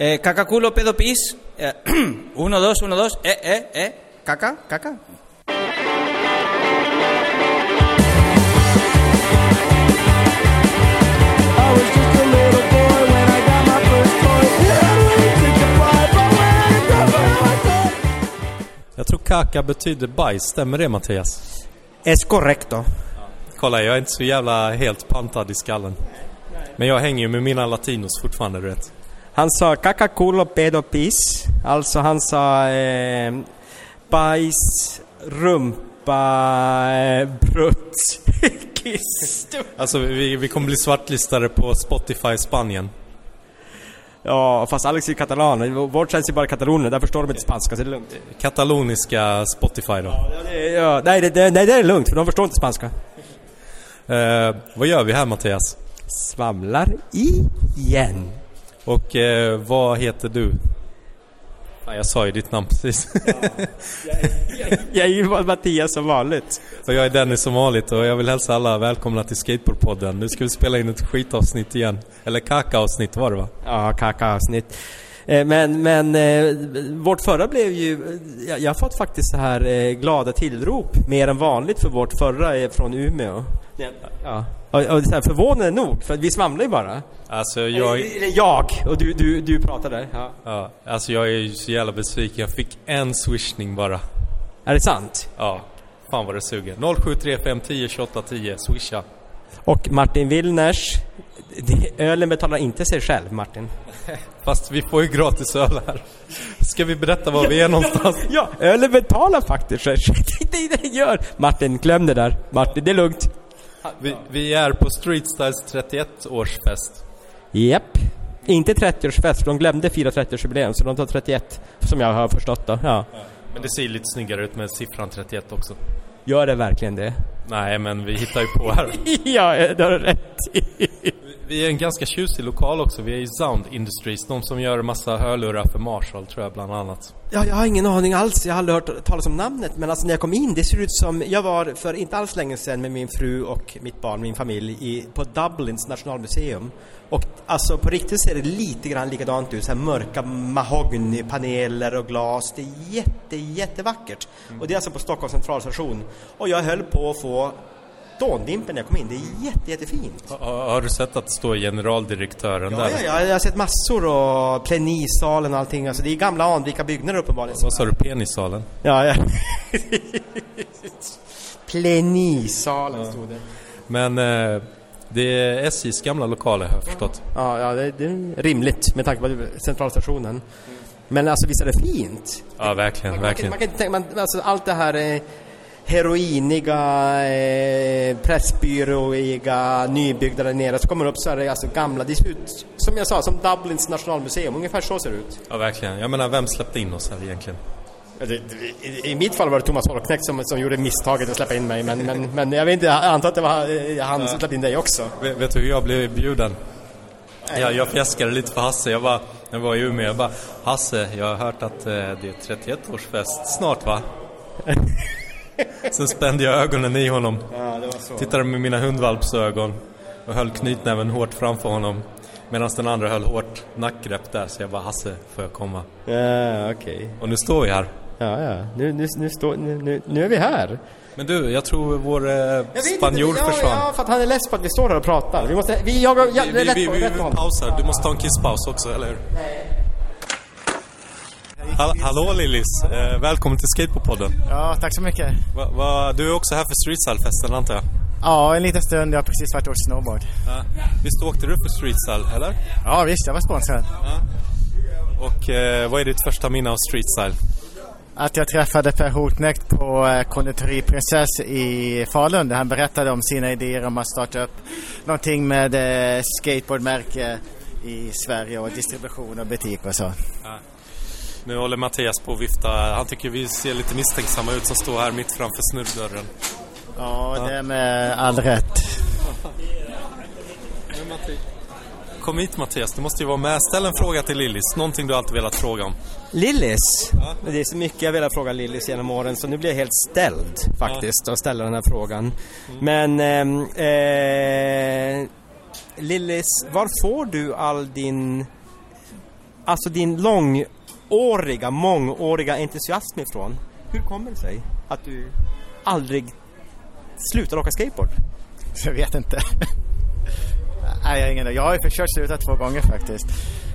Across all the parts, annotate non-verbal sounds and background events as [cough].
Eh, caca culo pedo pis. Eh, [clears throat] uno, dos, uno, dos. Eh, eh, eh. Caca, caca. I was just a little boy when I got my first toy. Yeah, I really think I'm fine, but when I got my first toy. Jag tror kaka betyder bajs, stämmer det Mattias? Es correcto. Kolla, jag är inte så jävla helt pantad i skallen. Men jag hänger ju med mina latinos fortfarande, du vet. Han sa kaka culo pedo piss. Alltså han sa eh, bajs, rumpa, eh, brutt, [laughs] kiss. Alltså, vi, vi kommer bli svartlistade på Spotify Spanien. Ja, fast Alex är katalan. Vårt känns ju bara kataloner, där förstår de inte spanska så det är lugnt. Kataloniska Spotify då. Ja, det, ja, nej, det, det, nej, det är lugnt för de förstår inte spanska. Eh, vad gör vi här Mattias? Svamlar igen. Och eh, vad heter du? Fan, jag sa ju ditt namn precis. Jag är ju Mattias som vanligt. och jag är Dennis som vanligt och jag vill hälsa alla välkomna till Skateboardpodden. Nu ska vi spela in ett skitavsnitt igen. Eller kaka-avsnitt var det va? Ja, kaka-avsnitt. Eh, Men, men eh, vårt förra blev ju... eh, Jag, jag har fått faktiskt så här eh, glada tillrop mer än vanligt för vårt förra är från Umeå. Ja. Och, och så här, förvånande nog, för vi svamlar ju bara. Alltså Jag, jag, jag och du, du, du pratade. Ja. ja, alltså jag är ju så jävla besviken. Jag fick en swishning bara. Är det sant? Ja, fan vad det suger. 0735102810, swisha. Och Martin Willners, det- ölen betalar inte sig själv [laughs] Martin. Fast vi får ju gratis öl här. Ska vi berätta var vi är någonstans? Ja, ölen betalar faktiskt sig själv. [laughs] Det är det den gör. Martin, glöm det där. Martin, det är lugnt. Vi, vi är på Street Styles 31-årsfest. Japp. Inte 30-årsfest, för de glömde fira 30-årsjubileum, så de tar 31, som jag har förstått då. Ja. Men det ser ju lite snyggare ut med siffran 31 också. Gör det verkligen det? Nej, men vi hittar ju på här. ja, det har du rätt i. Vi är en ganska tjusig lokal också. Vi är i Sound Industries, de som gör massa hörlurar för Marshall tror jag bland annat. Ja, jag har ingen aning alls. Jag har aldrig hört talas om namnet. Men alltså när jag kom in, det ser ut som... Jag var för inte alls länge sedan med min fru och mitt barn, min familj, i, på Dublins nationalmuseum. Och alltså på riktigt ser det lite grann likadant ut. Så här mörka mahognypaneler och glas. Det är jätte, jättevackert. Och det är alltså på Stockholms centralstation. Och jag höll på att få dåndimpen när jag kom in. Det är jätte, jättefint. Har, har du sett att det står generaldirektören Ja, där? ja, ja, jag har sett massor och plenisalen och allting. Alltså det är gamla anrika byggnader uppenbarligen. Vad sa du, penissalen? Ja, ja. Plenisalen stod det. Men eh, det är SJs gamla lokaler har jag förstått. Ja, ja det, det är rimligt med tanke på centralstationen. Men alltså visst är det fint? Ja, verkligen, Man kan, verkligen. man kan inte tänka, man, alltså, allt det här eh, heroiniga, eh, pressbyråiga, nybyggda där nere. Så kommer det upp så här, alltså gamla, det ser ut som jag sa, som Dublins nationalmuseum. Ungefär så ser det ut. Ja, verkligen. Jag menar, vem släppte in oss här egentligen? Ja, det- det- I, I mitt fall var det Thomas Holknekt som, som gjorde misstaget att släppa in mig, men, men, men jag vet inte, jag antar att det var eh, han som släppte in dig också. Vet, vet du hur jag blev bjuden? Jag, jag fjäskade lite för Hasse. Jag bara, när jag var i Umeå, jag bara Hasse, jag har hört att eh, det är 31-årsfest snart [laughs] va? Sen spände jag ögonen i honom. Tittade med mina hundvalpsögon och höll knytnäven hårt framför honom. Medan den andra höll hårt nackgrepp där, så jag bara Hasse, får jag komma? Ja, okej. Och nu står vi här. Ja, ja. Nu, nu, nu, står, nu, nu, nu är vi här. Men du, jag tror vår eh, spanjor försvann. Ja, för att han är less på att vi står här och pratar. Vi måste... Vi, jag, jag, Vi, jag, vi, rätt vi, på, vi, rätt vi på. pausar. Du måste ta en kisspaus också, eller hur? Hall hallå Lillis! Eh, välkommen till Skateboardpodden. Ja, tack så mycket. Va, va, du är också här för Streetstyle-festen antar jag? Ja, en liten stund. Jag har precis varit och åkt snowboard. Ja. Visst åkte du för Streetstyle, eller? Ja, visst, jag var sponsrad. Och eh, vad är ditt första minne av Streetstyle? Att jag träffade Per Hotnäckt på eh, Konditori Princess i Falun där han berättade om sina idéer om att starta upp någonting med eh, skateboardmärke i Sverige och distribution och butik och så. Nu håller Mattias på att vifta. Han tycker vi ser lite misstänksamma ut som står här mitt framför snurrdörren. Ja, det är med all rätt. Kom hit Mattias, du måste ju vara med. Ställ en fråga till Lillis, någonting du alltid velat fråga om. Lillis? Men Det är så mycket jag velat fråga Lillis genom åren så nu blir jag helt ställd faktiskt att ställa den här frågan. Men ehm, eh, Lillis, var får du all din alltså din långåriga, mångåriga entusiasm ifrån? Hur kommer det sig att du aldrig slutar åka skateboard? [laughs] Jag vet inte. Nej, jag har ingen aning. Jag har ju försökt sluta två gånger faktiskt.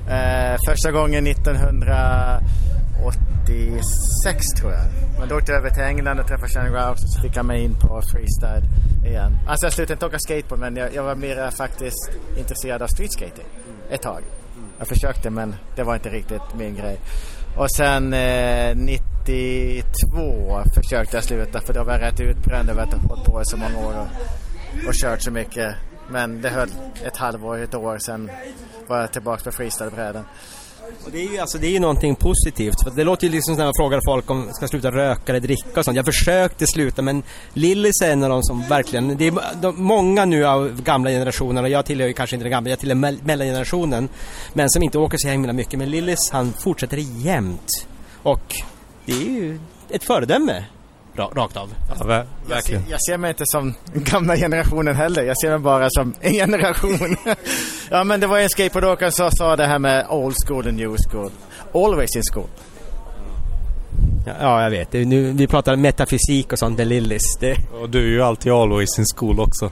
Eh, första gången 1986 tror jag. Men då åkte jag över till England och träffade Shannon Rouse och så fick jag mig in på freestyle igen. Alltså jag slutade inte åka skateboard men jag, jag var mer faktiskt intresserad av streetskating ett tag. Jag försökte men det var inte riktigt min grej. Och sen eh, 92 försökte jag sluta för då var jag rätt utbränd över att ha hållit på i så många år. Och och kört så mycket. Men det höll ett halvår, ett år, sen var jag tillbaka på freestylebrädan. Och det är ju alltså, det är ju någonting positivt. För det låter ju liksom när man frågar folk om ska sluta röka eller dricka och sånt. Jag försökte sluta men Lillis är en av de som verkligen, det är de, många nu av gamla generationer och jag tillhör ju kanske inte den gamla, jag tillhör mell- mellangenerationen. Men som inte åker så himla mycket. Men Lillis han fortsätter jämt. Och det är ju ett föredöme. ra- Rakt av. Ja, ver- Jag ser, verkligen. jag ser mig inte som gamla generationen heller. Jag ser mig bara som [laughs] en generation. ja, men det var en skateboardåkare som sa det här med old school and new school. Always in school. Ja, Ja, jag vet. Det är Nu, vi pratar metafysik och sånt med Lillis. Det, Och du är ju alltid always in school också.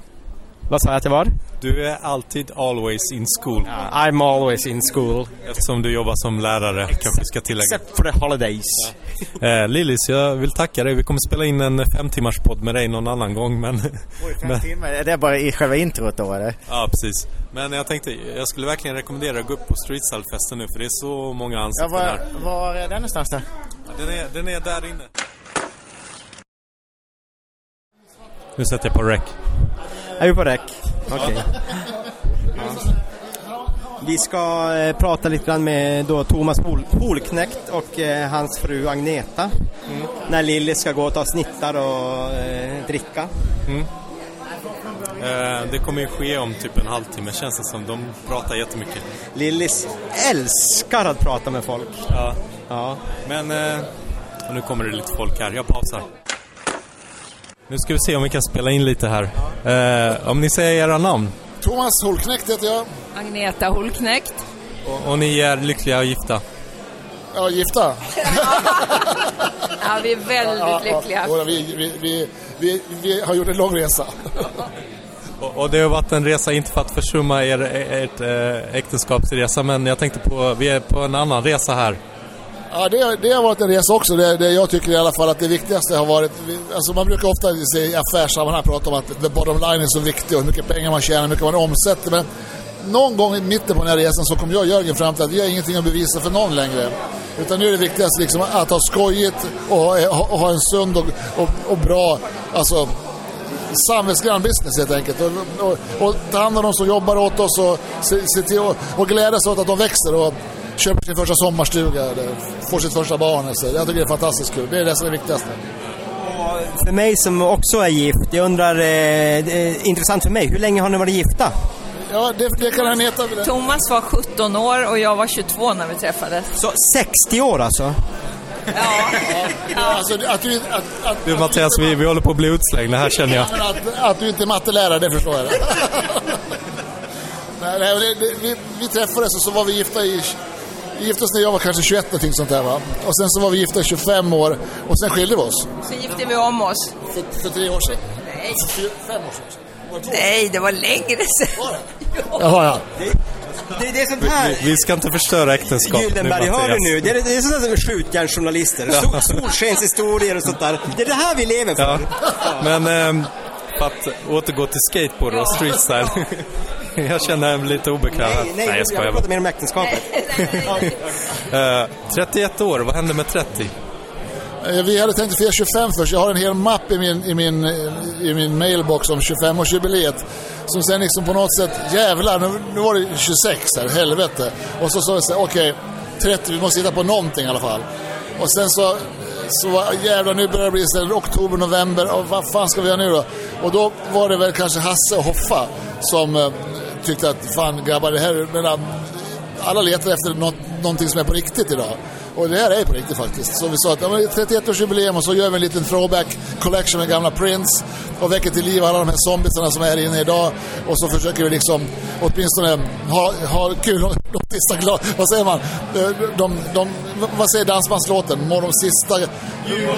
vad sa jag att det var? Du är alltid always in school. I'm always in school. Eftersom du jobbar som lärare kanske vi ska tillägga. Except for the holidays. Eh, Lillis, jag vill tacka dig. Vi kommer spela in en femtimmars podd med dig någon annan gång. Men, Oj, men, fem timmar. Är det bara i själva introt då eller? ja, precis. men jag tänkte, jag skulle verkligen rekommendera att gå upp på Streetstyle-festen nu för det är så många Ja, ansikten var, här. var är den någonstans då? Den är, den är där inne. Nu sätter jag på rec. Är vi på räck? Okej. Vi ska eh, prata lite grann med då Thomas Hol- Holknekt och eh, hans fru Agneta. När Lilly ska gå och ta snittar och eh, dricka. Eh, det kommer ju ske om typ en halvtimme känns det som. De pratar jättemycket. Lillis älskar att prata med folk. Ja. Ja. Men eh, och nu kommer det lite folk här. Jag pausar. Nu ska vi se om vi kan spela in lite här. Eh, om ni säger era namn Thomas Holknekt heter jag. Agneta Holknekt. och, och ni är lyckliga och gifta. Ja, gifta. Ja, vi är väldigt lyckliga. Ja, vi, vi, vi, vi, vi har gjort en lång resa. Och, och det har varit en resa, inte för att försumma er, ert eh, äktenskapsresa, men jag tänkte på, vi är på en annan resa här. Ja, det, det har varit en resa också. Det, det jag tycker i alla fall att det viktigaste har varit... vi- Alltså man brukar ofta se i affärssammanhang prata om att the bottom line är så viktig och hur mycket pengar man tjänar, hur mycket man omsätter. Men någon gång i mitten på den här resan så kom jag och Jörgen fram till att vi har ingenting att bevisa för någon längre. Utan nu är det viktigaste liksom att ha skojigt och ha, och ha en sund och, och, och bra... Alltså, samvetsgrann business helt enkelt. Och, och, och ta hand om de som jobbar åt oss och, se, se till och, och glädjas åt att de växer och köper sin första sommarstuga eller får sitt första barn. eller Så jag tycker det är fantastiskt kul. Det är det som är viktigast. Och för mig som också är gift, jag undrar, eh, det är intressant för mig, hur länge har ni varit gifta? Ja, det, det kan han heta. vill jag- Thomas var 17 år och jag var 22 när vi träffades. Så 60 år alltså? Ja. Alltså, att, du, att, att, Du Mattias, vi, vi håller på att bli utslängda här känner jag. Men att, att du inte är mattelärare, det förstår jag. nej, nej, men det, det, vi, vi träffades och så var vi gifta i... Vi gifte oss när jag var kanske 21 någonting sånt där va. Och sen så var vi gifta i 25 år och sen skilde vi oss. Så gifte vi om oss. För, för tre år sedan. Nej. Fyra, fem år sedan. Var det två? Nej, det var längre sedan. Jaha, ja. Det, det är sånt här. Vi ska inte förstöra äktenskapet nu Gyllenberg, hör Mattias. du nu? Det är, det är sånt där som skjutjärnsjournalister. Sol- Solskenshistorier och sånt där. Det är det här vi lever för. Ja. Men ehm, för att återgå till skateboard och streetstyle. [laughs] jag känner mig lite obekväm. Nej, nej, jag skojar jag bara. pratar mer [laughs] om äktenskapet. Eh, 31 år, vad hände med 30? Eh, Vi hade tänkt fira 25 först. Jag har en hel mapp i min, i min, eh, i min mailbox om 25-årsjubileet. Som sen liksom på något sätt, jävlar, nu, nu var det 26 här, helvete. Och så sa vi så här, okej, 30, vi måste hitta på någonting i alla fall. Och sen så, så var- jävlar, nu börjar det bli så här, oktober, november, och vad fan ska vi göra nu då? Och då var det väl kanske Hasse och Hoffa som eh, tyckte att, fan grabbar, det här, är- menar, alla letar efter något, någonting som är på riktigt idag. Och det här är på riktigt faktiskt. Så vi sa att ja, men 31-årsjubileum och så gör vi en liten throwback collection med gamla Prince och väcker till liv alla de här zombiesarna som är här inne idag. Och så försöker vi liksom åtminstone ha, ha kul. och [laughs] De sista glada, vad säger man? De, de, de, vad säger dansbandslåten? Må de sista...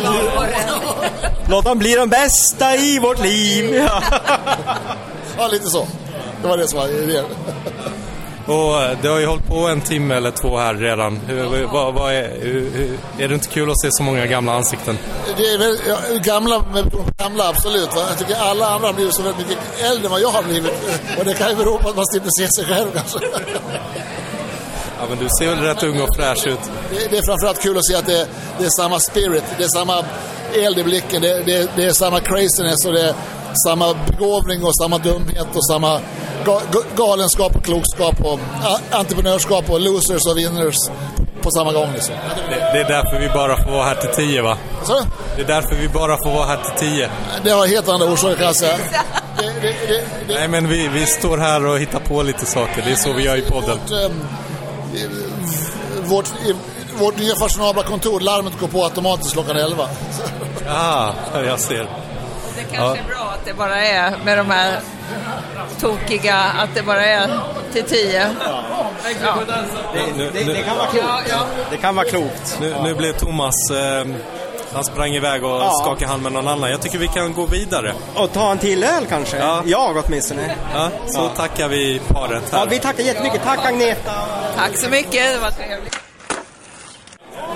[laughs] Låt dem bli de bästa i vårt liv! Ja. Ja, lite så. Det var det som var idén. Och eh, det har ju hållit på en timme eller två här redan. Hur, hur- vad, vad är, hur, hur, är det inte kul att se så många gamla ansikten? Det är väl, ja, gamla, med- gamla absolut. Va? Jag tycker alla andra har blivit så väldigt mycket äldre än vad jag har blivit. Och det kan ju bero på att man slipper se sig själv alltså. kanske. Ja, men du ser väl rätt ung och fräsch ut? Det, det är framförallt kul att se att det, det är samma spirit, det är samma eld i blicken, det, det, det är samma craziness och det är samma begåvning och samma dumhet och samma ga, ga- galenskap och klokskap och a, entreprenörskap och losers och winners på samma gång liksom. Det, det är därför vi bara får vara här till tio, va? Så, Det är därför vi bara får vara här till tio. det har helt andra orsaker kan jag säga. Det, det, det, det, Nej, men vi, vi står här och hittar på lite saker. Det är så vi gör i podden. Vårt, ehm, eh, vårt, eh, vårt nya fashionabla kontor, larmet går på automatiskt klockan 11. Ah, jag ser. Det kanske är bra att det bara är med de här tokiga, att det bara är till tio. Ja. Nu, nu, Ja, ja. Det kan vara klokt. nu, nu blev Thomas... Eh, han sprang iväg och skakade hand med någon annan. Jag tycker vi kan gå vidare. [laughs] Och ta en till öl kanske? Ja. Jag åtminstone. Ja, så tackar vi paret Ja, här. vi tackar jättemycket. Tack Agneta! Tack så mycket, det var trevligt.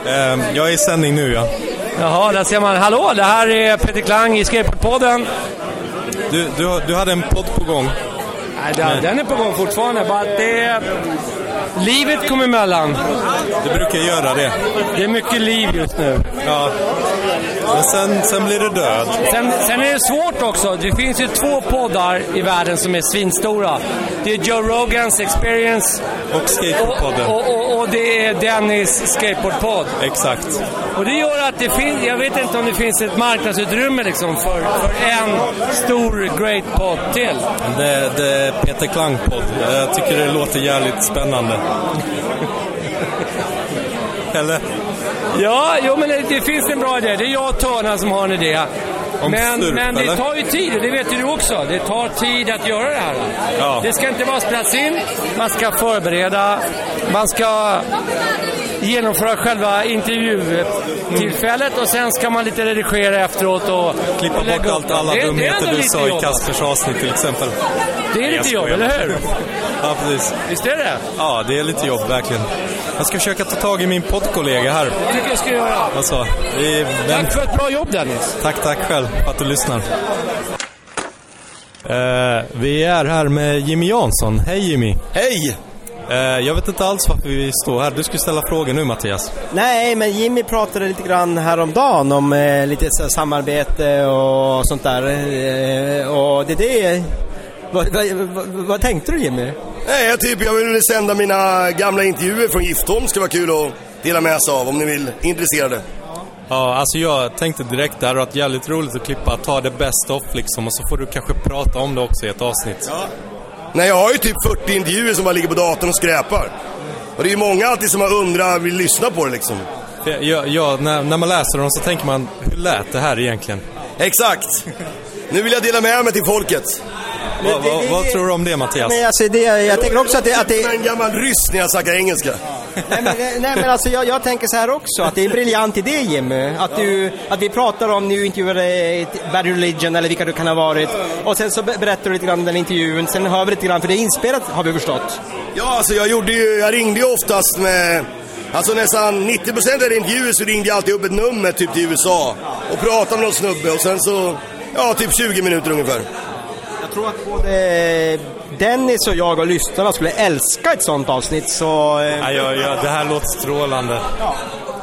Ehm, jag är i sändning nu, ja. Jaha, där ser man. Hallå, det här är Peter Klang i Skateboardpodden. Du, du, du hade en podd på gång. Nej, den, den är på gång fortfarande, bara att det... Livet kom emellan. Det brukar göra det. Det är mycket liv just nu. Ja. Men sen, sen blir det död. Sen, sen är det svårt också. Det finns ju två poddar i världen som är svinstora. Det är Joe Rogans Experience Och och, skateboardpodden. och, och, och det är Dennis Skateboardpodd. Exakt. Och det gör att det finns, jag vet inte om det finns ett marknadsutrymme liksom för, för en stor great podd till. Det, det är Peter Klang-podd. Jag tycker det låter jävligt spännande. Eller? Ja, jo men det, det finns en bra idé. Det är jag och Törna som har en idé. Om men, slurp, men eller? det tar ju tid, och det vet ju du också. Det tar tid att göra det här. Ja. Det ska inte bara spelas in, man ska förbereda, man ska genomföra själva intervjutillfället och sen ska man lite redigera efteråt och Klippa och lägga bort upp allt det. alla Det är- det är dumheter ändå du lite sa i jobb. Kaspers avsnitt till exempel. Det är Jag lite jobb, skojar. eller hur? Ja, precis. Visst är det? Ja, det är lite jobb verkligen. Jag ska försöka ta tag i min poddkollega här. tycker jag ska göra. Alltså, vi, den Tack för ett bra jobb Dennis. Tack, tack själv för att du lyssnar. Eh, vi är här med Jimmy Jansson. Hej Jimmy! Hej! Eh, jag vet inte alls varför vi står här. Du skulle ställa frågor nu Mattias. Nej, men Jimmy pratade lite grann häromdagen om eh, lite så här samarbete och sånt där. Eh, och det, det vad, vad, Eh, vad, vad tänkte du Jimmy? Nej, jag, typ, jag vill sända mina gamla intervjuer från Giftholm. skulle vara kul att dela med sig av om ni vill intresserade. Ja, alltså jag tänkte direkt där att jävligt roligt att klippa, ta det bäst off liksom och så får du kanske prata om det också i ett avsnitt. Nej, jag har ju typ 40 intervjuer som bara ligger på datorn och skräpar. Och det är ju många alltid som har undrat, vill lyssna på det liksom. För Jag, jag, när, när man läser dem så tänker man, hur lät det här egentligen? Exakt! Nu vill jag dela med mig till folket. Vad- vad- vad tror du om det Mattias? Men alltså, det, jag tänker också att det... Att det Jag är en gammal ryss när jag snackar engelska. nej, men, nej men alltså jag, jag tänker så här också, att det är en briljant idé Jimmy. Att, du, att vi pratar om, nu intervjuade ett Bad Religion eller vilka du kan ha varit. Och sen så be- berättar du lite grann om den intervjun, sen hör vi lite grann, för det är inspelat har vi förstått. Ja, alltså jag gjorde ju, jag ringde ju oftast med, alltså nästan 90% av intervjuer så ringde jag alltid upp ett nummer typ till USA och pratade med någon snubbe och sen så, ja typ 20 minuter ungefär. Jag tror att både Eh, Dennis och jag och lyssnarna skulle älska ett sånt avsnitt så... eh, Ja, ja, ja, det här låter strålande.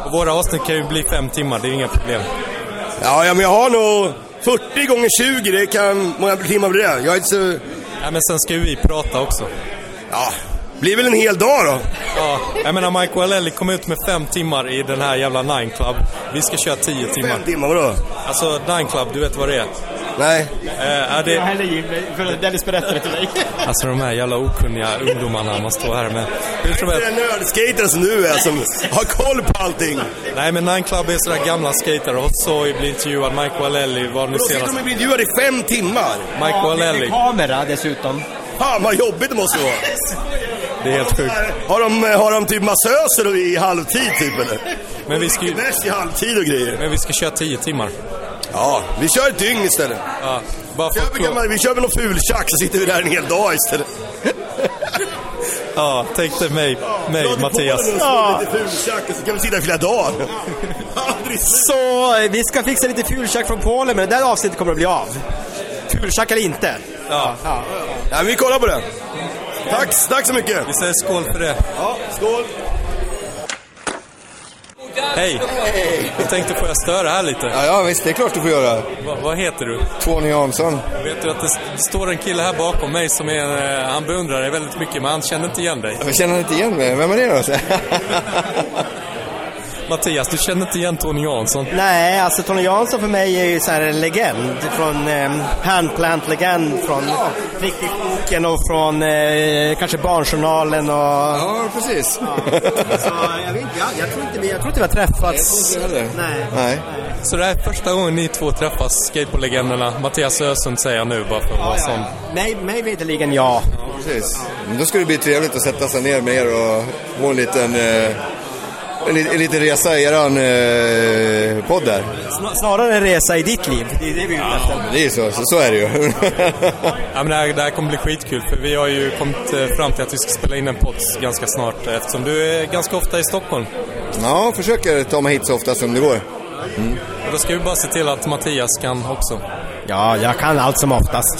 Och våra avsnitt kan ju bli fem timmar, det är inga problem. Ja, ja men jag har nog 40 gånger 20, det kan, många timmar blir det? Jag är inte så, Ja, men sen ska ju vi prata också. ja, blir väl en hel dag då. Ja, jag menar Mike Wallelli kom ut med fem timmar i den här jävla Nine Club. Vi ska köra tio timmar. Fem timmar, vadå? Alltså Nine Club, du vet vad det är? Nej. Eh, är det, heller Jimmy, för Dennis berättade till mig. Alltså de här jävla okunniga ungdomarna man står här med. Hur som Det är helst. den nördskatern som du är som har koll på allting. Nej men Nine Club är sådär gamla skater. Hot Soy blir intervjuad, Mike Wallelli var nu Då sitter senast. de och blir intervjuade i fem timmar. Mike Wallelli, Kamera dessutom. Fan vad jobbigt det måste vara. det är helt sjukt. Har de, har de typ massöser i halvtid typ eller? Men vi ska ju, Mest i halvtid och grejer. men vi ska köra 10 timmar. Ja, vi kör ett dygn istället. Ja, bara för Kör att vi, gammal, prova. vi kör väl någon fultjack så sitter vi där en hel dag istället. Ja, tänk dig mig, mig Mattias. Ja. Lite fultjack och så kan vi sitta i flera dagar. Aldrig slut. Så eh, vi ska fixa lite fultjack från Polen, men det där avsnittet kommer att bli av. Fultjack eller inte. Ja, Ja, men vi kollar på det. Tack, tack så mycket. vi säger skål för det. Ja, skål. Hej! Jag tänkte, får jag störa här lite? Ja, ja visst, det är klart du får göra. Va, vad heter du? Tony Jansson. Vet du att det st- står en kille här bakom mig som är, eh, han beundrar dig väldigt mycket, men han känner inte igen [laughs] dig. Jag känner inte igen mig. Vem är det då? Mattias, du känner inte igen Tony Jansson? Nej, alltså Tony Jansson för mig är ju så här en legend. Från eh, Handplant-legend från Riktigt-boken och från eh, kanske Barnjournalen och... ja, precis. [laughs] Så, jag, vet, inte, jag, jag, tror inte vi, jag tror inte vi har träffats. Jag tror inte heller. Nej. Nej. Så det här är första gången ni två träffas, skateboardlegenderna. Mattias Ösund säger jag nu bara för att vara sån. Mig, mig veterligen ja. Precis. Men Då ska det bli trevligt att sätta sig ner med er och få en liten, eh, en, li- en liten resa i eran eh, podd där. Sna- Snarare en resa i ditt liv. Det är det vi är ute efter. Det är ju så, så, så är det ju. Ja, men det, här, det här kommer bli skitkul för vi har ju kommit eh, fram till att vi ska spela in en podd ganska snart eh, eftersom du är ganska ofta i Stockholm. ja, försöker ta mig hit så ofta som det går. Mm. Och då ska vi bara se till att Mattias kan också. Ja, jag kan allt som oftast.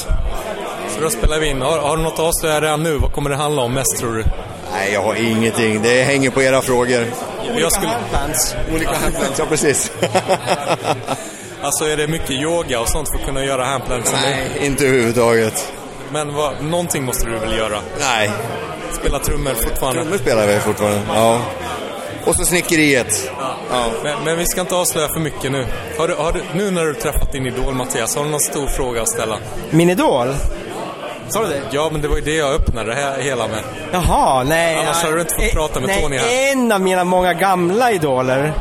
Så då spelar vi in. Har, har du något att avslöja redan nu? Vad kommer det handla om mest tror du? Nej, jag har ingenting. Det hänger på era frågor. Jag skulle, [laughs] Handplants. Olika handplants, ja [laughs] precis. alltså är det mycket yoga och sånt för att kunna göra handplants? Nej, inte överhuvudtaget. Men vad, någonting måste du väl göra? Nej, Spela trummor fortfarande? trummor spelar vi fortfarande. Ja. Och så snickeriet. Men, men vi ska inte avslöja för mycket nu. Har du, har du, nu när du träffat din idol Mattias, har du någon stor fråga att ställa? Min idol? Sa du det? Ja, men det var ju det jag öppnade det här, hela med. Jaha, nej. Annars jag- hade du inte fått eh, prata med nej, Tony här. En av mina många gamla idoler.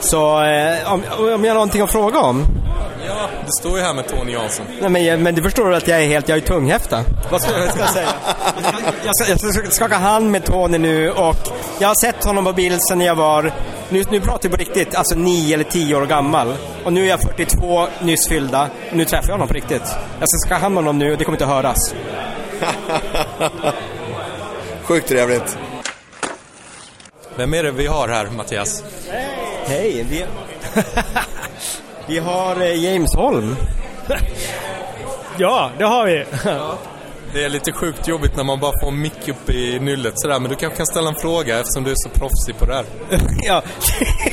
Så eh, om, om jag har någonting att fråga om? Ja, du står ju här med Tony Jansson. Nej, men, jag- men du förstår att jag är helt, jag är tunghäfta. Vad ska jag ska säga? Jag ska, jag ska skaka hand med Tony nu och jag har sett honom på bild sedan jag var, nu, nu pratar jag på riktigt, alltså 9 eller 10 år gammal. Och nu är jag 42, nyss fyllda. Och nu träffar jag honom på riktigt. Jag ska skaka hand med honom nu och det kommer inte att höras. [laughs] Sjukt trevligt. Vem är det vi har här, Mattias? Hej! Vi, [laughs] vi har eh, James Holm. [laughs] Ja, det har vi. Det är lite sjukt jobbigt när man bara får en mick upp i nyllet sådär, men du kanske kan ställa en fråga eftersom du är så proffsig på det här. ja.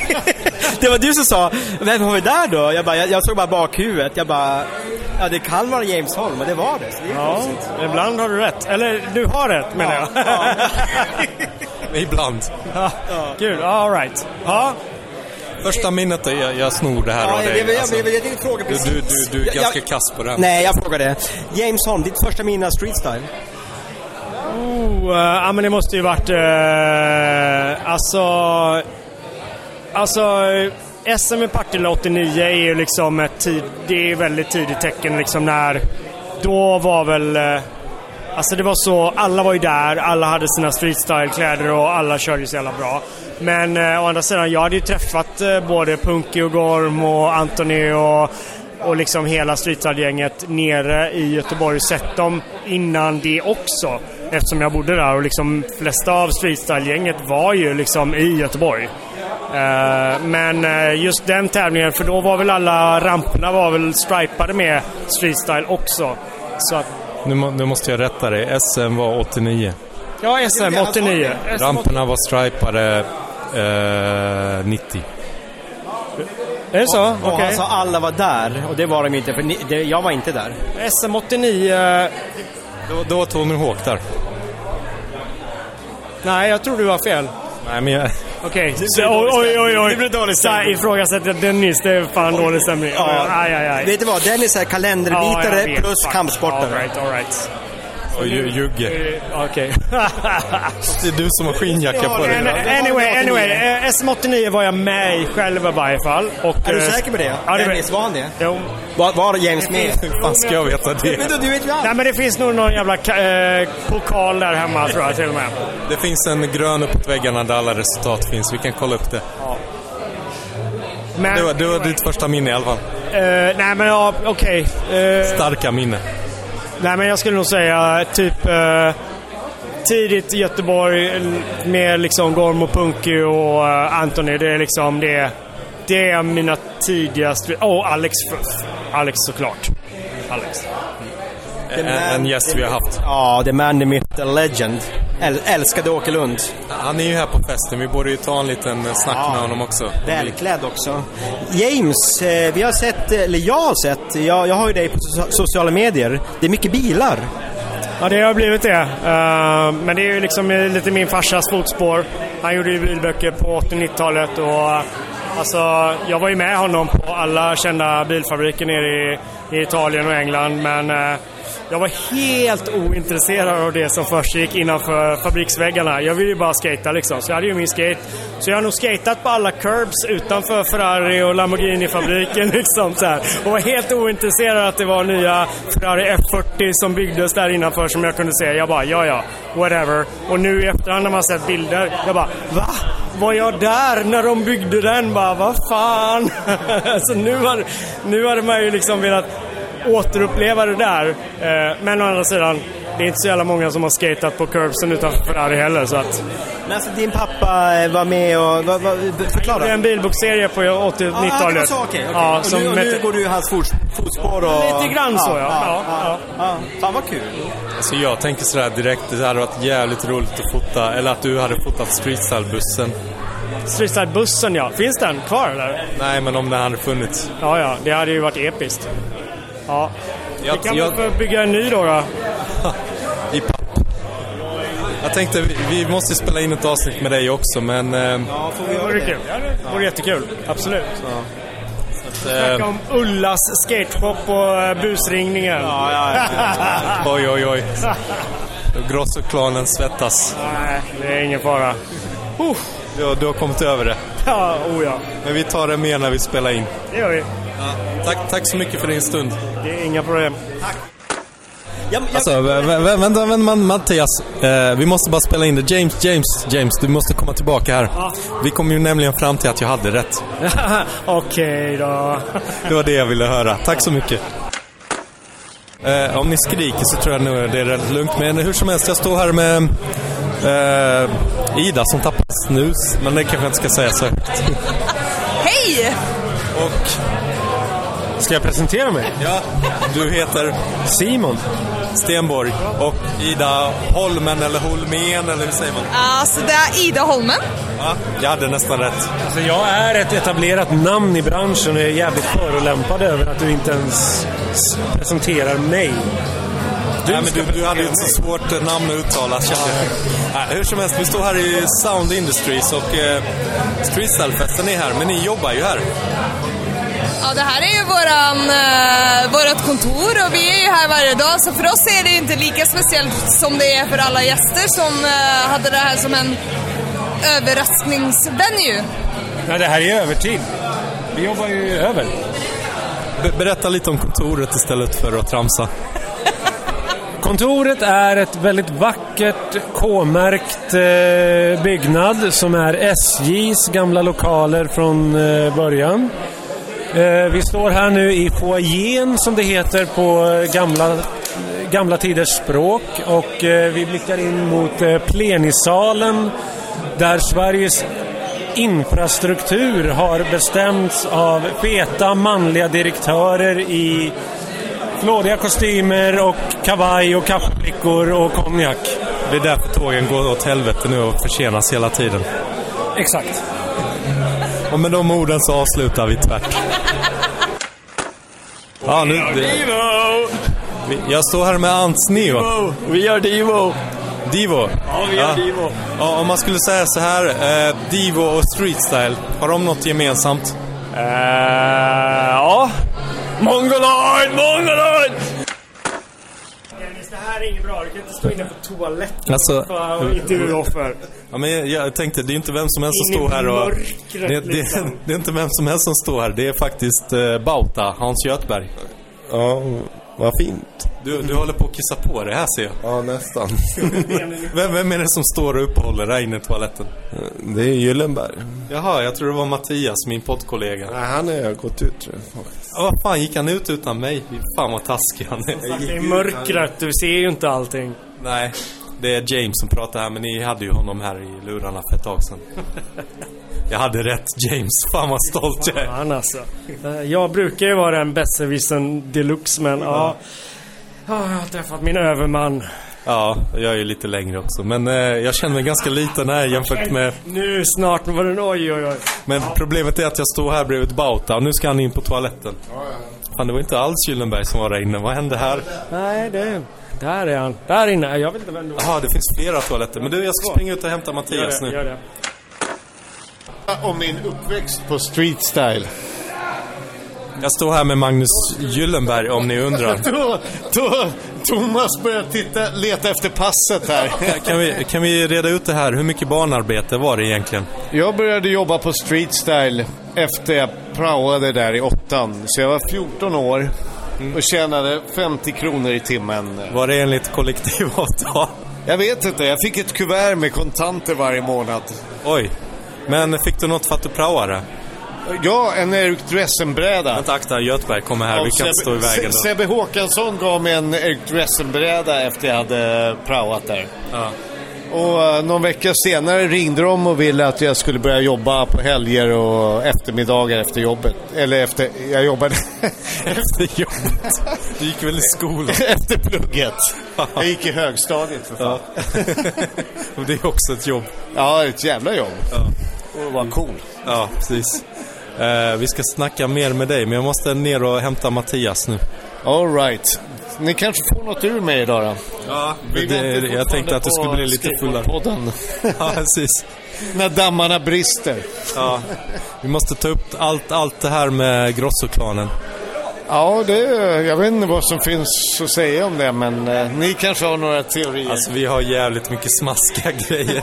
[laughs] det var du som sa, vem har vi där då? Jag, bara, jag, jag såg bara bakhuvudet. Jag bara, ja det kan vara James Holm, och det var det. Så det är Ja, ibland har du rätt. Eller du har rätt menar jag. [laughs] Ibland. Kul, alright. Ja, Första minnet är jag, jag snor det här av Ja, jag, jag, dig. Alltså, jag, jag, du, jag tänkte fråga precis. du, du, du är Jag- jag- ganska kass [laughs] på det här. Nej, jag frågade. James Holm, ditt första minne av streetstyle? Oh, eh, ja men det måste ju varit... Uh, alltså... Alltså... eh, SM i Partille 89 är ju liksom ett tid, det är väldigt tidigt tecken liksom när... Då var väl... eh, alltså det var så, alla var ju där, alla hade sina streetstyle-kläder och alla körde ju så jävla bra. Men eh, å andra sidan, jag hade ju träffat eh, både Punky och Gorm och Anthony och, och liksom hela streetstyle-gänget nere i Göteborg och sett dem innan det också. Eftersom jag bodde där och liksom flesta av streetstyle-gänget var ju liksom i Göteborg. Eh, men eh, just den tävlingen, för då var väl alla ramperna var väl stripade med streetstyle också. Så att Nu, må- nu måste jag rätta dig. SM var 89. Ja, SM 89. Ramperna var stripade eh, 90. Är det så? Och Okej. han sa alla var där, och det var de inte, för ni, det, jag var inte där. SM 89... eh, Då, då var Tony Hawk där. Nej, jag tror du har fel. Nej, men jag... Okej, så- oj, oj, oj, oj. Det blir dålig stämning. Ifrågasätter jag Dennis, det är fan dålig stämning. Ja. Aj, aj, aj. Vet du vad? Dennis är Ja, jag kalenderbitare plus vet. Fuck. All kampsportare. right, all right. Och ju- Jugge. Eh, Okej. Det är du som har skinnjacka på dig. va? anyway, anyway. eh, SM89 var jag med i själv i varje fall. Och, Är du eh, säker på det? Ja, det Dennis, var han det? Jo. Var, var James med? Hur fan ska jag veta det? Men då, du vet ju allt. Nej men det finns nog någon jävla ka- eh, pokal där hemma tror jag till och med. Det finns en grön uppåt väggarna där alla resultat finns. Vi kan kolla upp det. Men, Det var, det var ditt första minne i alla fall. eh, nej men ja, okej. Eh, Starka minne. Nej, men jag skulle nog säga typ eh, tidigt i Göteborg eh, med liksom Gorm och Punky och eh, Anthony. Det är liksom det. Det är mina tidigaste... Åh, oh, Alex Fruff. Alex såklart. Alex. En, en gäst vi har haft. Ja, the man, the myth, the legend. Äl, älskade Åke Lund. Han är ju här på festen. Vi borde ju ta en liten eh, snack med honom också. Välklädd också. James, eh, vi har sett, eller jag har sett, jag, jag har ju dig på so- sociala medier. Det är mycket bilar. Ja, det har blivit det. Eh, men det är ju liksom eh, lite min farsas fotspår. Han gjorde ju bilböcker på 80-90-talet och eh, alltså, jag var ju med honom på alla kända bilfabriker nere i, i Italien och England men eh, jag var helt ointresserad av det som försiggick innanför fabriksväggarna. Jag ville ju bara skata liksom, så jag hade ju min skate. Så jag har nog skatat på alla curbs utanför Ferrari och Lamborghini-fabriken [laughs] liksom så här. Och var helt ointresserad att det var nya Ferrari F40 som byggdes där innanför som jag kunde se. Jag bara, ja ja, whatever. Och nu i efterhand när man sett bilder, jag bara, va? Var jag där när de byggde den? Bara, vad fan? [laughs] så nu hade, nu hade man ju liksom velat återuppleva det där. Eh, Men å andra sidan, det är inte så jävla många som har skatat på curbsen utanför Ferrari heller så att... Men alltså din pappa eh, var med och, vad, vad, Det är förklara. en bilbokserie på 80-90-talet. Ja, det var så, okej. okej. Ja, och, som nu, och nu hette- går du i hans fots, fotspår och... Lite grann så, ja. Ja, ja. ja. Fan vad kul. Så jag tänker sådär direkt, det hade varit jävligt roligt att fota, eller att du hade fotat streetstyle-bussen. Streetside-bussen ja. Finns den kvar eller? Nej, men om den hade funnits. Ja, ja. Det hade ju varit episkt. Ja. Jag, Vi kan väl jag, få bygga en ny då. då. [laughs] i papp. jag tänkte, vi, vi måste spela in ett avsnitt med dig också, men... Eh, Det vore kul. Det vore jättekul. Absolut. Snacka eh, om Ullas skateshop och eh, busringningen. Ja, ja, ja. oj, oj, oj. Grosso-klanen svettas. Nej, det är ingen fara. Uh, Du, har- du har kommit över det. [laughs] ja, oh ja. Men vi tar det mer när vi spelar in. Det gör vi. Tack, tack så mycket för din stund. Det är inga problem. Ja, men jag- Alltså, vä- vä- vä- vänta, vänta, man, Mattias. Eh, vi måste bara spela in det. James, James, James, du måste komma tillbaka här. Vi kom ju nämligen fram till att jag hade rätt. [laughs] Okej då. Det var det jag ville höra. Tack så mycket. Eh, om ni skriker så tror jag nog det är rätt lugnt. Men hur som helst, jag står här med eh, Ida som tappat snus. Men det kanske jag inte ska säga så högt. Hej! Och... Ska jag presentera mig? Ja, du heter Simon. Stenborg. Och Ida Holmen, eller Holmén, eller hur säger man? Ja, så det är Ida Holmen. Ja, jag hade nästan rätt. Alltså, jag är ett etablerat namn i branschen och jag är jävligt förolämpad över att du inte ens s- presenterar mig. Du, Nej, men ska du, du hade ju ett så presentera svårt eh, namn att uttala, kände jag. Nej, Hur som helst, vi står här i Sound Industries och eh, Streetstyle-festen är här, men ni jobbar ju här. Ja, det här är ju våran, eh, vårat kontor och vi är ju här varje dag så för oss är det ju inte lika speciellt som det är för alla gäster som eh, hade det här som en överraskningsvenue. Nej, det här är ju övertid. Vi jobbar ju över. Be- berätta lite om kontoret istället för att tramsa. Kontoret är ett väldigt vackert K-märkt eh, byggnad som är SJs gamla lokaler från eh, början. Eh, vi står här nu i foajén som det heter på eh, gamla, gamla tiders språk och eh, vi blickar in mot eh, plenisalen där Sveriges infrastruktur har bestämts av feta manliga direktörer i Flådiga kostymer och kavaj och kaffebrickor och konjak. Det är därför tågen går åt helvete nu och försenas hela tiden. Exakt. Och med de orden så avslutar vi tvärt. Ja, nu, det, vi, jag står här med Ants Neo. We are Devo! Divo. Ja, vi gör Divo. Ja, om man skulle säga så här, eh, Divo och streetstyle, har de något gemensamt? Eh, ja. Mongoloid, mongoloid! Det här är inget bra. Du kan inte stå inne på toaletten Alltså, och intervjuoffer. Ja, men jag, jag tänkte, det är inte vem som helst som In i står här och... mörkret, det, det, liksom. [laughs] det är inte vem som helst som står här. Det är faktiskt eh, Bauta, Hans Göthberg. Ja, vad fint. Du, du håller på att kissa på det här ser jag. Ja, nästan. [laughs] vem, vem är det som står och uppehåller dig inne i toaletten? Det är Gyllenberg. Jaha, jag tror det var Mattias, min poddkollega. Nej, han har gått ut tror jag. Ja, vad fan, gick han ut utan mig? Fan vad taskig han är. Det är mörkret. Du ser ju inte allting. Nej, det är James som pratar här, men ni hade ju honom här i lurarna för ett tag sedan. Jag hade rätt, James. Fan vad stolt jag är. Fan alltså. Eh, Jag brukar ju vara den besserwissern deluxe men ja. Ja, Ah, Jag har träffat min överman. Ja, jag är ju lite längre också. Men eh, jag känner mig ganska liten här jämfört med... Nu snart var den oj oj oj. Men problemet är att jag står här bredvid Bauta och nu ska han in på toaletten. Fan, det var inte alls Gyllenberg som var där inne. Vad hände här? Nej det... Där är han. Där inne. Jag vet inte vem det var. Jaha, det finns flera toaletter. Men du, jag ska springa ut och hämta Mattias Gör det, gör nu. det. Om min uppväxt på street style. Jag står här med Magnus Gyllenberg om ni undrar. [laughs] Då, då Thomas börjar titta, leta efter [laughs] passet här. Kan vi, kan vi reda ut det här? Hur mycket barnarbete var det egentligen? Jag började jobba på street style efter jag praoade där i åttan. Så jag var 14 år och tjänade 50 kronor i timmen. Mm. Var det enligt kollektivavtal? Jag vet inte, jag fick ett kuvert med kontanter varje månad. Oj. Men fick du något för att du praoade? Ja, en Erik Dressen-bräda. Vänta, akta Göthberg kommer här. Vi kan inte stå i vägen då. Se- Sebbe Håkansson gav mig en Erik Dressen-bräda efter jag hade praoat där. Ja. Och eh, någon vecka senare ringde de och ville att jag skulle börja jobba på helger och eftermiddagar efter jobbet. Eller efter... Jag jobbade [laughs] Efter jobbet. Du gick väl i skolan? efter plugget. Jag gick i högstadiet för fan. Ja. Och det är [laughs] också ett jobb. Mm. Ja, ett jävla jobb. Och vad cool. Ja, precis. Eh, vi ska snacka mer med dig, men jag måste ner och hämta Mattias nu. All right. Ni kanske får något ur mig idag då? Ja, det, väntar jag tänkte att du skulle bli lite fortfarande fullare. på Skateboardpodden. [laughs] Ja, precis. När dammarna brister. Ja. Vi måste ta upp allt, allt det här med Grossoklanen. Ja, det, jag vet inte vad som finns att säga om det, men eh, ni kanske har några teorier. Alltså, vi har jävligt mycket smaskiga [laughs] grejer.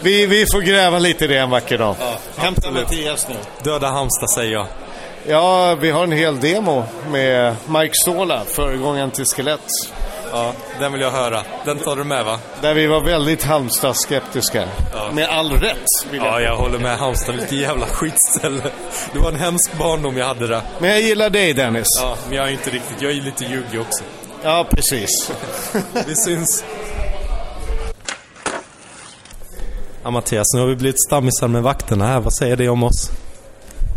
vi, vi får gräva lite i det en vacker dag. Hämta absolut. Mattias nu. Döda Halmstad, säger jag. Ja, vi har en hel demo med Mike Sola, föregångaren till Skelett. Ja, den vill jag höra. Den tar du med, va? Där vi var väldigt Halmstad-skeptiska. Med all rätt, vill jag Ja, jag håller med. Halmstad, vilket jävla skitställe. Det var en hemsk barndom jag hade där. Men jag gillar dig Dennis. Ja, Ja, men jag är inte riktigt... Jag är lite ljugg också. precis. [laughs] Vi syns. Ja, Mattias, nu har vi blivit stammisar med vakterna här. Vad säger det om oss?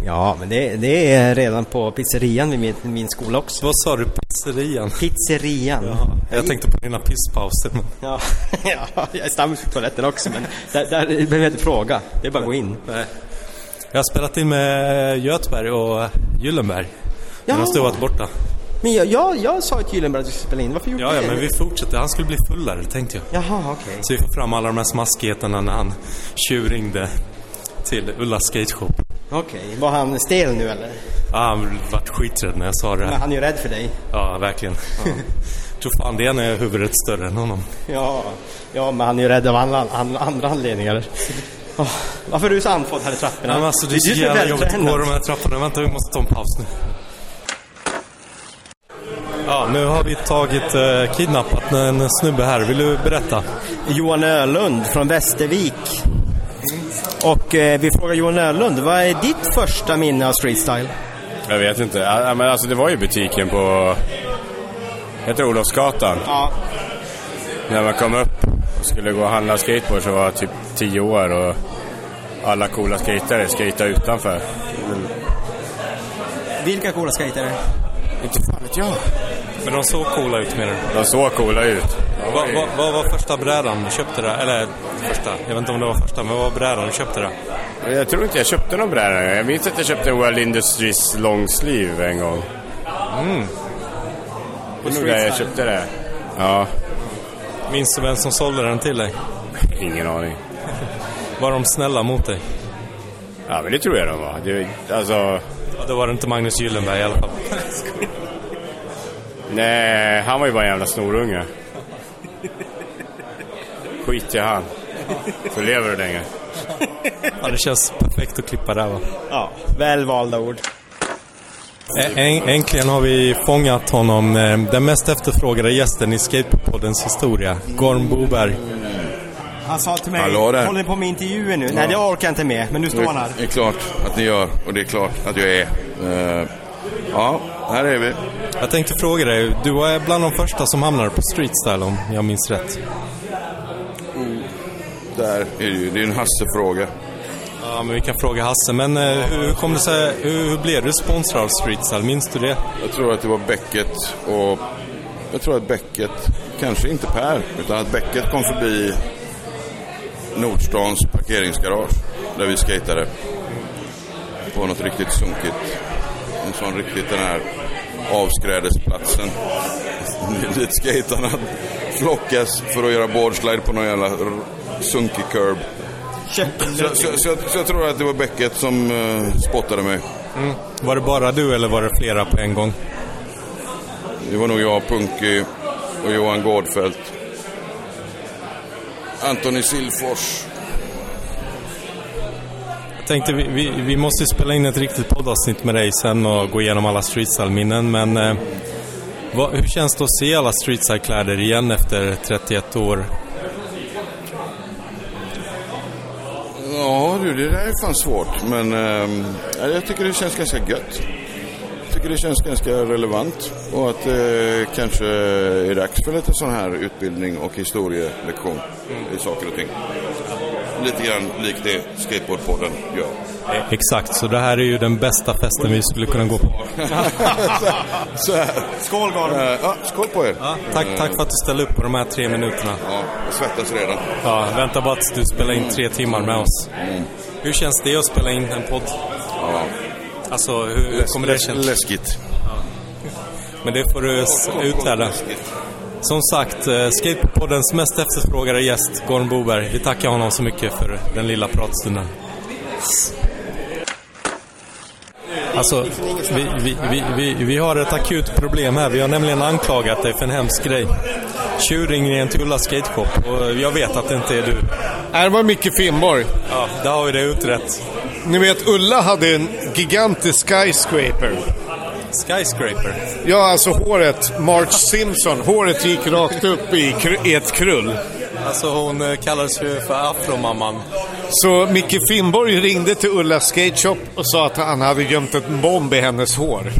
Ja, men det, det är redan på pizzerian vid min, min skola också. Vad sa du? Pizzerian? Pizzerian. Ja, Jag tänkte på dina pisspauser. men- ja, [laughs] jag är stammis på toaletten också, men där, där behöver jag inte fråga. Det är bara att gå in. Jag har spelat in med Göthberg och Gyllenberg. Men de Ja. har varit borta. Men jag, jag, jag sa till Gyllenberg att vi skulle spela in. Varför gjorde Ja, du ja, det? men vi fortsätter. Han skulle bli fullare, tänkte jag. Jaha, okej. Så vi får fram alla de här smaskigheterna när han tjurringde till Ulla Skateshop. Okej, var han stel nu eller? Ja, Ah, han vart skiträdd när jag sa det Men här. han är ju rädd för dig. Ja, verkligen. [laughs] tror fan det är när huvudet är större än honom. Ja, ja men han är ju rädd av andra, an- andra anledningar. Åh, varför är du så andfådd här i trapporna? Nej, men alltså, det är så du som jävla jobbigt att vältränad. gå de här trapporna. Vänta, vi måste ta en paus nu. Ja, nu har vi tagit eh, kidnappat en snubbe här. Vill du berätta? Johan Ölund från Västervik. Och eh, vi frågar Johan Ölund, vad är ditt första minne av streetstyle? Jag vet inte. Ja, men alltså det var ju butiken på... Heter det Olofsgatan. Ja. När man kom upp och skulle gå och handla skateboard så var jag typ 10 år och alla coola skatare skejtade utanför. Vilka coola skejtare? Inte fan vet jag. Men de såg coola ut menar du? De såg coola ut. De var Vad ju- va, vad var första brädan du köpte där? Eller första, jag vet inte om det var första, men vad var brädan du köpte där? Jag tror inte jag köpte någon bräda. Jag minns att jag köpte en World Industries longsleeve en gång. Det är nog där jag köpte det. Ja. Minns du vem som sålde den till dig? Ingen aning. [laughs] Var de snälla mot dig? Ja, men det tror jag de var. Det, [laughs] alltså... Ja, då var det inte Magnus Gyllenberg i alla fall. Nej, han var ju bara en jävla snorunge. Skit i han. Så lever du länge. Ja, det känns perfekt att klippa där va? Ja, välvalda ord. Ä- äng- Eh, Äntligen har vi fångat honom, eh, den mest efterfrågade gästen i Skateboardpoddens historia, Gorm Boberg. Han sa till mig, Hallå där. håller ni på med intervjuer nu? Ja. Nej, det orkar jag inte med, men nu står han här. Det är klart att ni gör och det är klart att jag är. Eh, ja, här är vi. Jag tänkte fråga dig, du var bland de första som hamnade på Streetstyle om jag minns rätt. Där är det ju. Det är ju en Hasse-fråga. Ja, men vi kan fråga Hasse, men eh, hur kom det sig, hur, hur blev du sponsrad av Streetstyle? Minns du det? Jag tror att det var Becket och jag tror att Becket, kanske inte Per, utan att Becket kom förbi Nordstans parkeringsgarage där vi skatade. På något riktigt sunkigt. En sån riktigt den här avskrädesplatsen. [laughs] Dit skatarna flockas för att göra boardslide på någon jävla r- sunkig curb. Så, så, så, jag, så jag tror att det var Becket som eh, spottade mig. Mm. Var det bara du eller var det flera på en gång? Det var nog jag, Punky och Johan Gårdfält. Antoni Silfors. Jag tänkte vi, vi, vi måste ju spela in ett riktigt poddavsnitt med dig sen och gå igenom alla Streetstyle-minnen, men eh, vad, hur känns det att se alla Streetstyle-kläder igen efter 31 år? Ja du, det där är fan svårt. Men ehm, ja, jag tycker det känns ganska gött. Jag tycker det känns ganska relevant. Och att det kanske är dags för lite sån här utbildning och historielektion i saker och ting. Lite grann likt det Skateboardpodden gör. Exakt, så det här är ju den bästa festen vi skulle kunna gå på. [laughs] så här. Eh, Skål Gorm! ja, skål på er! Tack, tack för att du ställde upp på de här tre minuterna. Ja, jag svettas redan. Ja, vänta bara tills du spelar in tre timmar med oss. Hur känns det att spela in en podd? Mm. Ja. Alltså, hur hur Läs- kommer det läs- kännas? Läskigt. Men det får du s- uthärda. Som sagt, eh, Skateboardpoddens mest efterfrågade gäst, Gorm Boberg. Vi tackar honom så mycket för den lilla pratstunden. Alltså, vi, vi, vi, vi, vi har ett akut problem här. Vi har nämligen anklagat dig för en hemsk grej. Tjuringren till Ulla Skateshop. Och eh, jag vet att det inte är du. Nej, det var Micke Finnborg. Ja, där har vi det utrett. Ni vet, Ulla hade en gigantisk skyscraper. Skyscraper? Ja, alltså håret. Marge Simpson. Håret gick rakt upp i, kr- i ett krull. Alltså hon eh, kallades ju för Afromamman. Så Micke Finnborg ringde till Ulla Skateshop och sa att han hade gömt en bomb i hennes hår.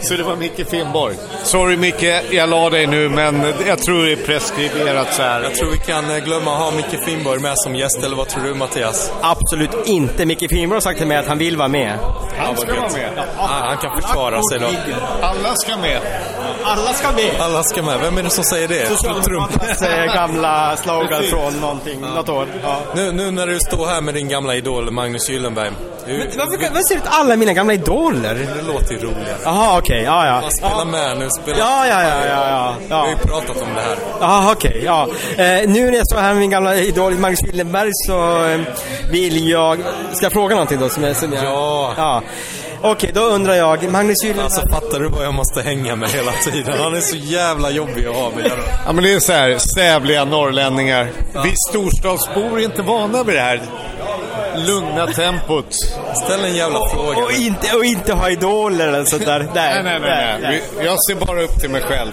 Så det var Micke Finnborg. Sorry Micke, jag la dig nu men jag tror det är preskriberat så här. Jag tror vi kan eh, glömma att ha Micke Finnborg med som gäst, eller vad tror du Mattias? Absolut inte. Micke Finnborg har sagt till mig att han vill vara med. Han ska vara med. han kan försvara sig då. Alla ska med. Alla ska med. Alla ska med. Vem är det som säger det? Trump. Socialdemokraternas eh, gamla slogan från någonting, något år. Ja. Nu, nu när du står här med din gamla idol Magnus Gyllenberg. Hur, Varför, varför ser du ut alla mina gamla idoler? det låter ju roligare. Jaha, okej. Ja, ja. Man spelar med nu. Spelar. Ja, ja, ja, ja, ja. Vi har ju pratat om det här. Jaha, okej. ja. Eh, nu när jag står här med min gamla idol Magnus Gyllenberg så eh, vill jag... Ska jag fråga någonting då? Som jag, som jag... Ja. ja. Okej, då undrar jag. Magnus Gyllenberg... Alltså fattar du vad jag måste hänga med hela tiden? Han är så jävla jobbig att ha med. Ja men det är så här, sävliga norrlänningar. Vi storstadsbor är inte vana vid det här lugna tempot. Ställ en jävla fråga. Och inte, och inte ha idoler eller sånt där. Nej, nej, nej. nej. Vi- Jag ser bara upp till mig själv.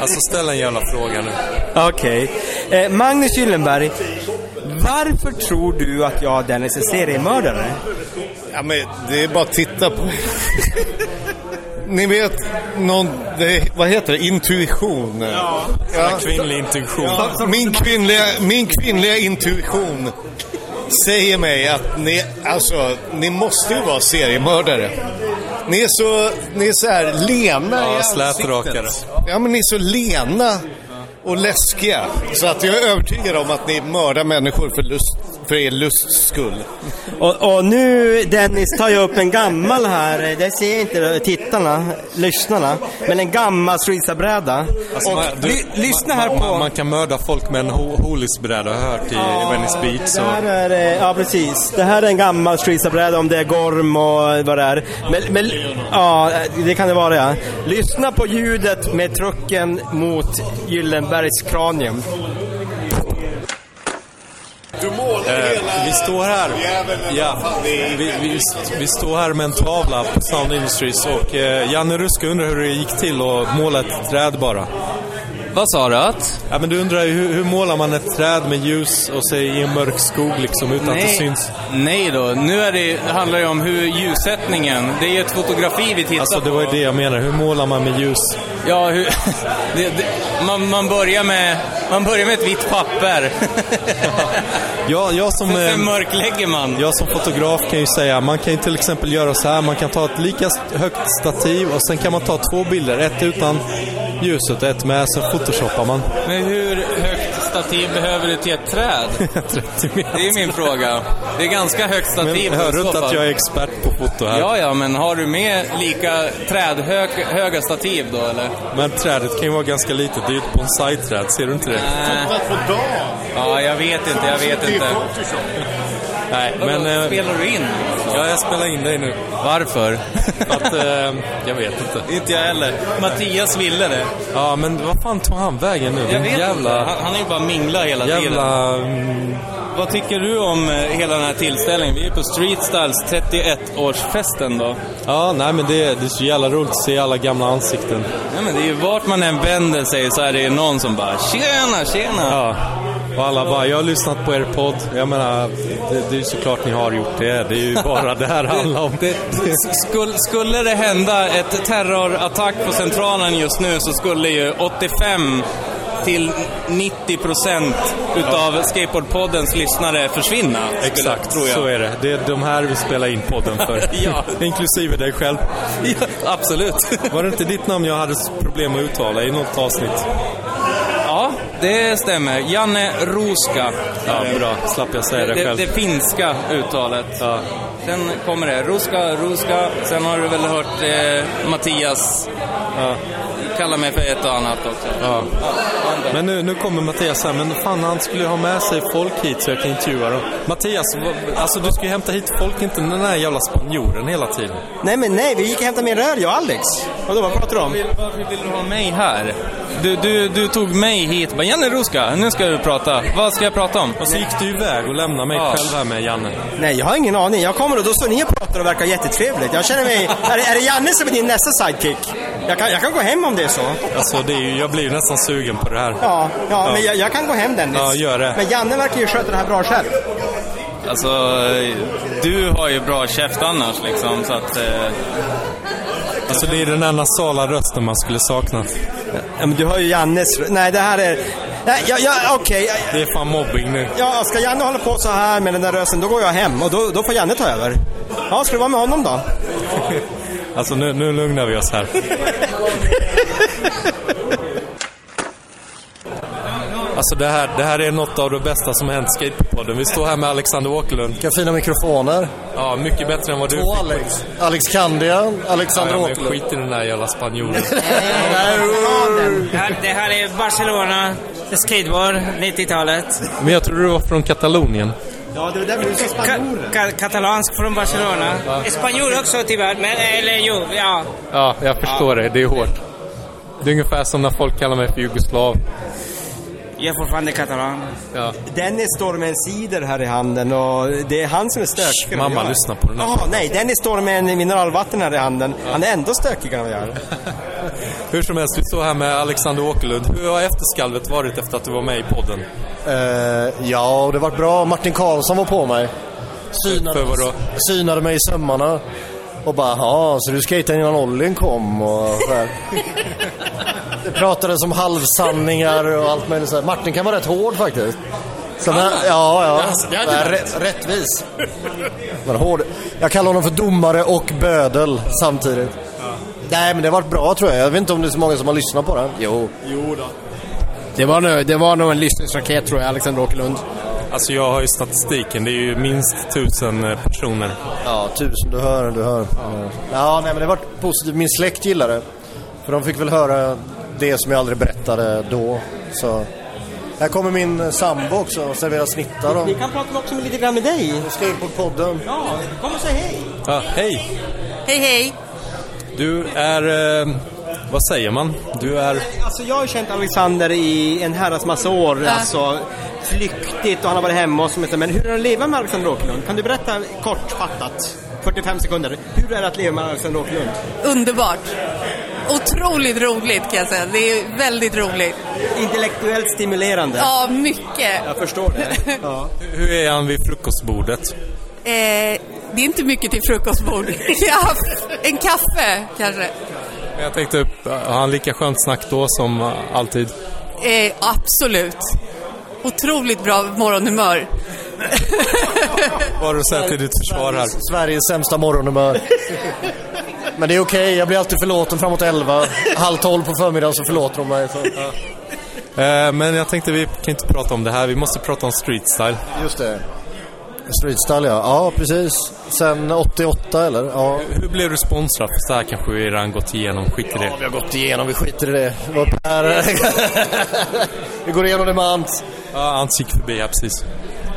Alltså ställ en jävla fråga nu. Okej. Eh, Magnus Gyllenberg. Varför tror du att jag Dennis är seriemördare? Ja, men det är bara att titta på. Ni vet, någon, det, vad heter det? Intuition. Ja. Ja. Kvinnlig intuition. Min, kvinnliga, min kvinnliga intuition säger mig att ni, alltså, ni måste ju vara seriemördare. Ni är så, ni är så här lena i Ja, ansiktet. slätrakare. Ja, men ni är så lena och läskiga. Så att jag är övertygad om att ni mördar människor för lust, för er lusts skull. Och, och nu Dennis tar jag upp en gammal här, Eh, det ser inte tittarna, lyssnarna, men en gammal Suiza-bräda. Alltså, och man, du, ly, lyssna här man, på... Man, man kan mörda folk med en ho- holisbräda har jag hört i Venice Beach. Så. Det här är, eh, ja precis. Det här är en gammal streetsabräda om det är gorm och vad det är. Men, men, ja, eh, det kan det vara ja. Lyssna på ljudet med trucken mot Gyllenbergs kranium. Eh, vi står här. Ja, vi, vi, vi står här med en tavla på Sound Industries och eh, Janne Rusk undrar hur det gick till att måla ett träd bara. Vad sa du att? Ja, men du undrar ju hur, hur målar man ett träd med ljus och sig i en mörk skog liksom utan att det Nej. syns? Nej då, nu är det, handlar det om hur ljussättningen, det är ju ett fotografi vi tittar Alltså det på. var ju det jag menar, hur målar man med ljus? Ja, hur, [laughs] det, det, man, man, börjar med, man börjar med ett vitt papper. [laughs] Ja, jag som... Sen- sen eh, mörklägger man. Jag som fotograf kan ju säga, man kan ju till exempel göra så här, man kan ta ett lika st- högt stativ och sen kan man ta två bilder, ett utan ljuset och ett med, sen photoshoppar man. Men hur högt stativ behöver du till ett [laughs] träd? Det är min fråga. Det är ganska högt stativ. Men hör du i så inte att fall. jag är expert på foto här? Ja, ja, men har du med lika trädhög, höga stativ då, eller? Men trädet kan ju vara ganska litet, det är ju ett bonsai-träd, ser du inte det? Äh, Ja, jag vet inte, jag vet inte. Nej, Vadå, men... eh, spelar du in? Ja, jag spelar in dig nu. Varför? att, eh, jag vet inte. Inte jag heller. Mattias ville det. Ja, men vad fan tog han vägen nu? Jag Den vet jävla... inte. Han, han är ju bara mingla hela Jävla, tiden. mm. Vad tycker du om eh, hela den här tillställningen? Vi är ju på Street Styles 31-årsfesten då. Ja, nej men det, det är så jävla roligt att se alla gamla ansikten. Nej, men det är ju vart man än vänder sig så är det ju någon som bara “Tjena, tjena!” Ja. Och alla bara, jag har lyssnat på er podd. Jag menar, det, det är ju såklart ni har gjort det. Det är ju bara det här handlar om. [laughs] Det, skulle, skulle det hända ett terrorattack på Centralen just nu så skulle ju 85 till 90 procent utav Skateboardpoddens lyssnare försvinna. skulle- Exakt, tror jag. så är det. Det är de här vi spelar in podden för. [laughs] Ja. Inklusive [laughs] dig själv. absolut. [laughs] Var det inte ditt namn jag hade problem att uttala i något avsnitt? Ja, det stämmer. Janne Ruska. Ja, bra. Slapp jag säga det själv. Det, finska uttalet. Sen kommer det. Ruska, Ruska. Sen har du väl hört eh, Mattias kalla mig för ett och annat också. Ja. Men nu, nu kommer Mattias här, men fan han skulle ju ha med sig folk hit så jag kan intervjua dem. Mattias, vad- alltså du ska ju hämta hit folk, inte den där jävla spanjoren hela tiden. Nej men nej, vi gick och hämtade min rör jag och Alex. Vadå, vad pratar du om? Varför vill du ha mig här? Du, du, du tog mig hit. Bara, Janne Ruska, nu ska du prata. Vad ska jag prata om? Och så gick du iväg och lämnade mig själv här med Janne. Nej, jag har ingen aning. Jag kommer och då står ni och pratar och verkar jättetrevligt. Jag känner mig... Är, det- är det Janne som är din nästa sidekick? Jag kan, jag kan gå hem om det är så. Alltså det är ju, jag blir ju nästan sugen på det här. Ja, ja, men jag, jag kan gå hem Dennis. Ja, gör det. Men Janne verkar ju sköta det här bra själv. Alltså, eh, du har ju bra käft annars liksom, så att... Eh, Alltså det är den där nasala rösten man skulle sakna. Ja, men du har ju Jannes... Nej, det här är... Nej, jag, jag, okej. jag- Det är fan mobbing nu. [laughs] Ja, ska Janne hålla på så här med den där rösten, då går jag hem och då, då får Janne ta över. Ja, ska du vara med honom då? Alltså nu, nu lugnar vi oss här. Alltså det här, det här är något av det bästa som har hänt Skatepodden. Vi står här med Alexander Åkerlund. Vilka fina mikrofoner. Ja, mycket bättre än vad du Två fick. Alex. Alex Kandia, Alexander Ja, men Åkerlund. Skit i den där jävla spanjoren. Det här- Det här är Barcelona, skateboard, 90-talet. Men jag tror du var från Katalonien. Ja, det är därför du Ka- ka- katalansk från Barcelona. Spanjor också tyvärr, men eller jo, ja. Ja, jag förstår det. Det är hårt. Det är ungefär som när folk kallar mig för jugoslav. Jag är fortfarande katalan. Dennis står med en cider här i handen och det är han som är stökigare mamma, lyssna på den här. Ja, nej, Dennis står med en mineralvatten här i handen. Han är ändå stökigare än vad jag är. Hur som helst, vi står här med Alexander Åkerlund. Hur har efterskalvet varit efter att du var med i podden? Eh, ja, det vart bra. Martin Karlsson var på mig. För vadå? Synade mig i sömmarna. Och bara, ja, så du skejtade innan Ollin kom och så här. Det pratades om halvsanningar och allt möjligt så här. Martin kan vara rätt hård faktiskt. Så den här, ja, ja. alltså, Nej, rätt- rättvis. Men hård. Jag kallar honom för domare och bödel samtidigt. Nej, men det har varit bra tror jag. Jag vet inte om det är så många som har lyssnat på den. Jo. Det var, nog, det var nog en lyssningsraket tror jag, Alexander Åkerlund. Alltså jag har ju statistiken, det är ju minst tusen eh, personer. Ja, tusen. Du hör, du hör. Ja, nej men det var positivt. Min släkt gillade det. För de fick väl höra det som jag aldrig berättade då. Så. Här kommer min sambo också och serverar snittar. Och... Vi kan prata också lite grann med dig. Ska in på podden. Ja, kom och säg hej. Ja, hej! Hej hej! Du är... Eh, vad säger man? Du är... Alltså jag har ju känt Alexander i en herrans massa år, alltså flyktigt och han har varit hemma och så vidare. Men hur är det att leva med Alexander Åkerlund? Kan du berätta kortfattat, 45 sekunder, hur är det att leva med Alexander Åkerlund? Underbart! Otroligt roligt kan jag säga. Det är väldigt roligt. Intellektuellt stimulerande. Ja, mycket. Jag förstår det. Ja. Hur är han vid frukostbordet? [laughs] Eh, det är inte mycket till [laughs] frukostbord. Jag har haft en kaffe kanske. Men Jag tänkte, upp, har han lika skönt snack då som eh, alltid? Eh, absolut. Otroligt bra morgonhumör. Vad har du att säga till ditt försvar här? Sveriges sämsta [laughs] morgonhumör. Men det är okej, jag blir alltid förlåten framåt elva. Halv tolv på förmiddagen så förlåter de mig. Så. Eh, men jag tänkte, vi kan inte prata om det här, vi måste prata om street style. Just det. Streetstyle ja, ja precis. Sen 88 eller? Ja. Hur blev du sponsrad? Fast det här kanske vi redan gått igenom, skit i det. Ja, vi har gått igenom, vi skiter i det. Det var Per. [laughs] vi går igenom det med Ant. Ja, Ants gick förbi, ja precis.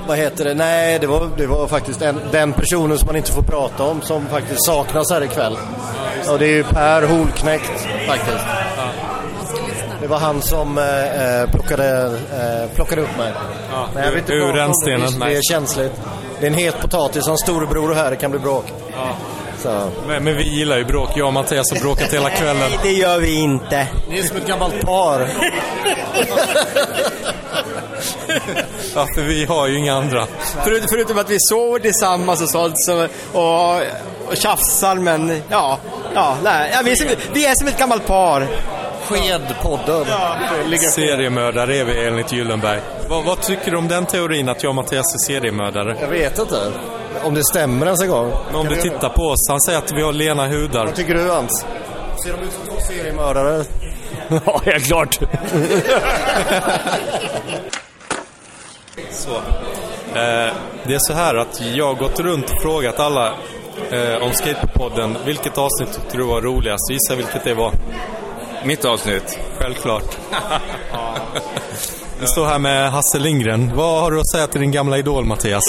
Vad heter det? Nej, det var, det var faktiskt en, den personen som man inte får prata om som faktiskt saknas här ikväll. Och det är ju Per Holknekt faktiskt. Det var han som eh, eh, plockade, eh, plockade upp mig. Ja, Men jag vill inte ur- ur prata om den det. stenen, Visst, Det nej. är känsligt. Det är en het potatis. Hans storebror är här, det kan bli bråk. Så. Men, men vi gillar ju bråk, jag och Mattias har bråkat hela kvällen. det gör vi inte. Ni är som ett gammalt par. [laughs] Ja, för vi har ju inga andra. Förut, förutom att vi sover tillsammans och sånt så, och, och tjafsar men ja, ja, nej, ja vi, är som, vi är som ett gammalt par. Skedpodden. Seriemördare är vi enligt Gyllenberg. Vad, vad tycker du om den teorin att jag och Mattias är seriemördare? Jag vet inte. [laughs] Om det stämmer ens en gång. Men om du tittar på oss, han säger att vi har lena hudar. Vad tycker du [laughs] Ants? Ser de ut som två seriemördare? Ja, helt [laughs] klart. Så. Eh, det är så här att jag har gått runt och frågat alla eh, om Skatepodden. Vilket avsnitt tyckte du var roligast? Gissa vilket det var. Mitt avsnitt. Självklart. Vi står här med Hasse Lindgren. Vad har du att säga till din gamla idol [laughs] Mattias?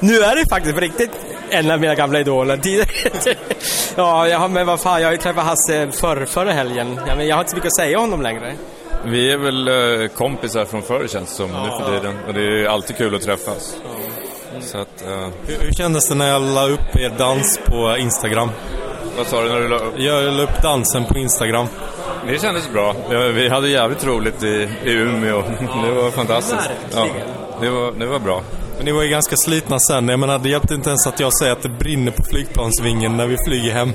Nu är det faktiskt på riktigt en av mina gamla idoler. Tidigare- [laughs] ja, jag har, men vad fan, jag har ju träffat Hasse förr, förra helgen. Ja, men jag har inte så mycket att säga om honom längre. [laughs] Vi är väl eh, kompisar från förr känns det som nu för tiden. Och det är ju alltid kul att träffas. Mm. Så att, eh, Hur, hur kändes det när jag la upp er dans på Instagram? vad sa du när du la upp? Jag la upp dansen på Instagram. Det kändes bra. Ja, Vi hade jävligt roligt i, i Umeå. [laughs] Det var fantastiskt. Ja, det, var, det var bra. Men ni var ju ganska slitna sen. Jag menar, det hjälpte inte ens att jag säger att det brinner på flygplansvingen när vi flyger hem.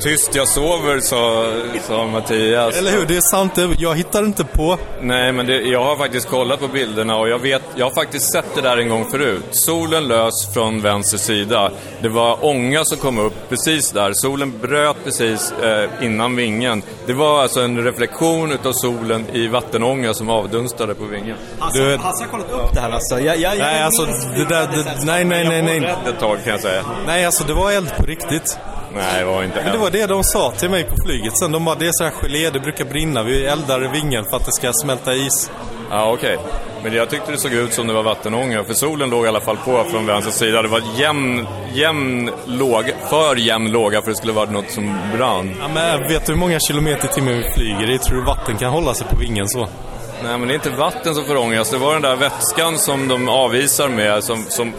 Tyst, jag sover, sa, sa Mattias. Eller hur? Det är sant. det- Jag hittar inte på. Nej, men det, jag har faktiskt kollat på bilderna och jag vet, jag har faktiskt sett det där en gång förut. Solen lös från vänster sida. Det var ånga som kom upp precis där. Solen bröt precis eh, innan vingen. Det var alltså en reflektion utav solen i vattenånga som avdunstade på vingen. Du- Hasse har kollat upp Alltså, det här alltså. Jag, jag, Nej, alltså det där... Det, nej, nej, nej, Jag nej. var rädd ett tag kan jag säga. Nej, alltså det var eld på riktigt. Nej, det var inte Men det var det de sa till mig på flyget sen. De bara, det är så här gelé, det brukar brinna. Vi eldar i vingen för att det ska smälta is. Ja, okej. Men jag tyckte det såg ut som det var vattenånga, för solen låg i alla fall på från vänster sida. Det var jämn, jämn låg, för jämn låga för det skulle vara något som brann. Ja, men äh, vet du hur många kilometer i timmen vi flyger i? Tror du vatten kan hålla sig på vingen så? Nej, men det är inte vatten som förångas. Det var den där vätskan som de avvisar med, som, som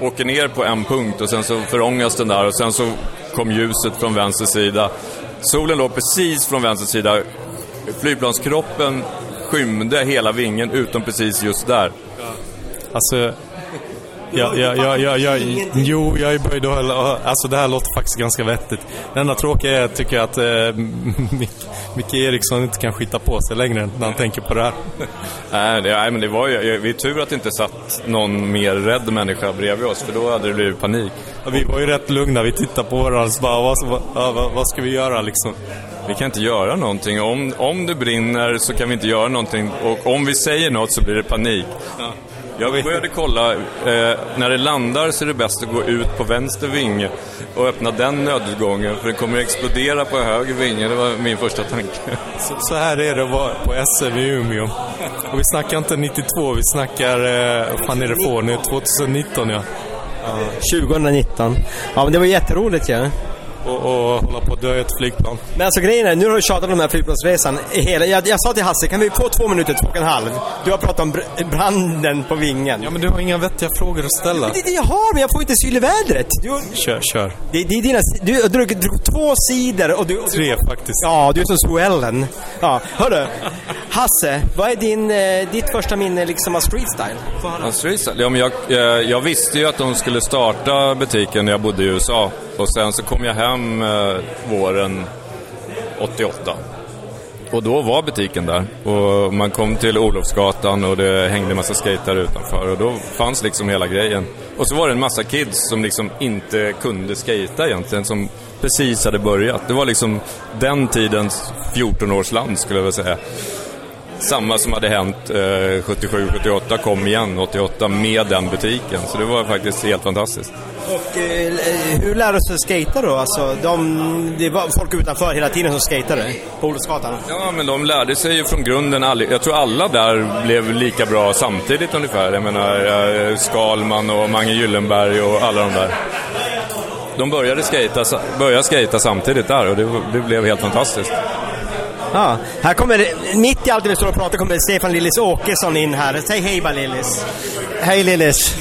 åker ner på en punkt och sen så förångas den där och sen så kom ljuset från vänster sida. Solen låg precis från vänster sida. Flygplanskroppen skymde hela vingen utom precis just där. Alltså... Ja, ja, ja, ja, ja, jo, jag är böjd och hålla- Alltså det här låter faktiskt ganska vettigt. Det enda tråkiga är, tycker jag, att eh, [laughs] Mic- Micke Eriksson inte kan skita på sig längre när han tänker på det [laughs] här. Nej, det, nej, men det var ju, vi är tur att det inte satt någon mer rädd människa bredvid oss, för då hade det blivit panik. Ja, Vi var ju rätt lugna, vi tittade på varandra och så bara, vad, vad, ja, vad, vad ska vi göra liksom? Vi kan inte göra någonting. Om, om det brinner så kan vi inte göra någonting och om vi säger något så blir det panik. Jag började kolla, eh, när det landar så är det bäst att gå ut på vänster vinge och öppna den nödutgången för det kommer att explodera på höger vinge, det var min första tanke. Så, så här är det att vara på SM i Umeå. Och vi snackar inte 92, vi snackar, eh, vad fan är det för år nu? 2019 ja. 2019. Ja, men det var jätteroligt ju. Och, och hålla på att dö i ett flygplan. Men alltså grejen är, nu har du tjatat om den här flygplansresan i hela... Jag, jag sa till Hasse, kan vi få två minuter, två och en halv? Du har pratat om br- branden på vingen. Ja, men du har inga vettiga frågor att ställa. Men det är det jag har, men jag får inte syl i vädret. Du, Kör, kör. det, det är dina, du har druckit druckit två sidor och du... Och Tre faktiskt. Ja, du är som Swellen. Ja, hörru. Hasse, vad är din, eh, ditt första minne liksom av street style? Alltså, ja, men jag, eh, jag visste ju att de skulle starta butiken när jag bodde i USA och sen så kom jag hem eh, våren 88. Och då var butiken där och man kom till Olofsgatan och det hängde en massa skater utanför och då fanns liksom hela grejen. Och så var det en massa kids som liksom inte kunde skata egentligen som precis hade börjat. Det var liksom den tidens 14-årsland skulle jag vilja säga. Samma som hade hänt eh, 77-78 kom igen 88 med den butiken. Så det var faktiskt helt fantastiskt. Och eh, hur lär du sig skata då? Alltså, de, det var folk utanför hela tiden som skatade på Olofsgatan. Ja, men de lärde sig ju från grunden. all- Jag tror alla där blev lika bra samtidigt ungefär. Jag menar eh, Skalman och Mange Gyllenberg och alla de där. De började skata, sa- började skata samtidigt där och det, det blev helt fantastiskt. Ja, här kommer, mitt i allt det vi står och pratar kommer Stefan Lillis Åkesson in här. Säg hej bara Lillis. Hej Lillis!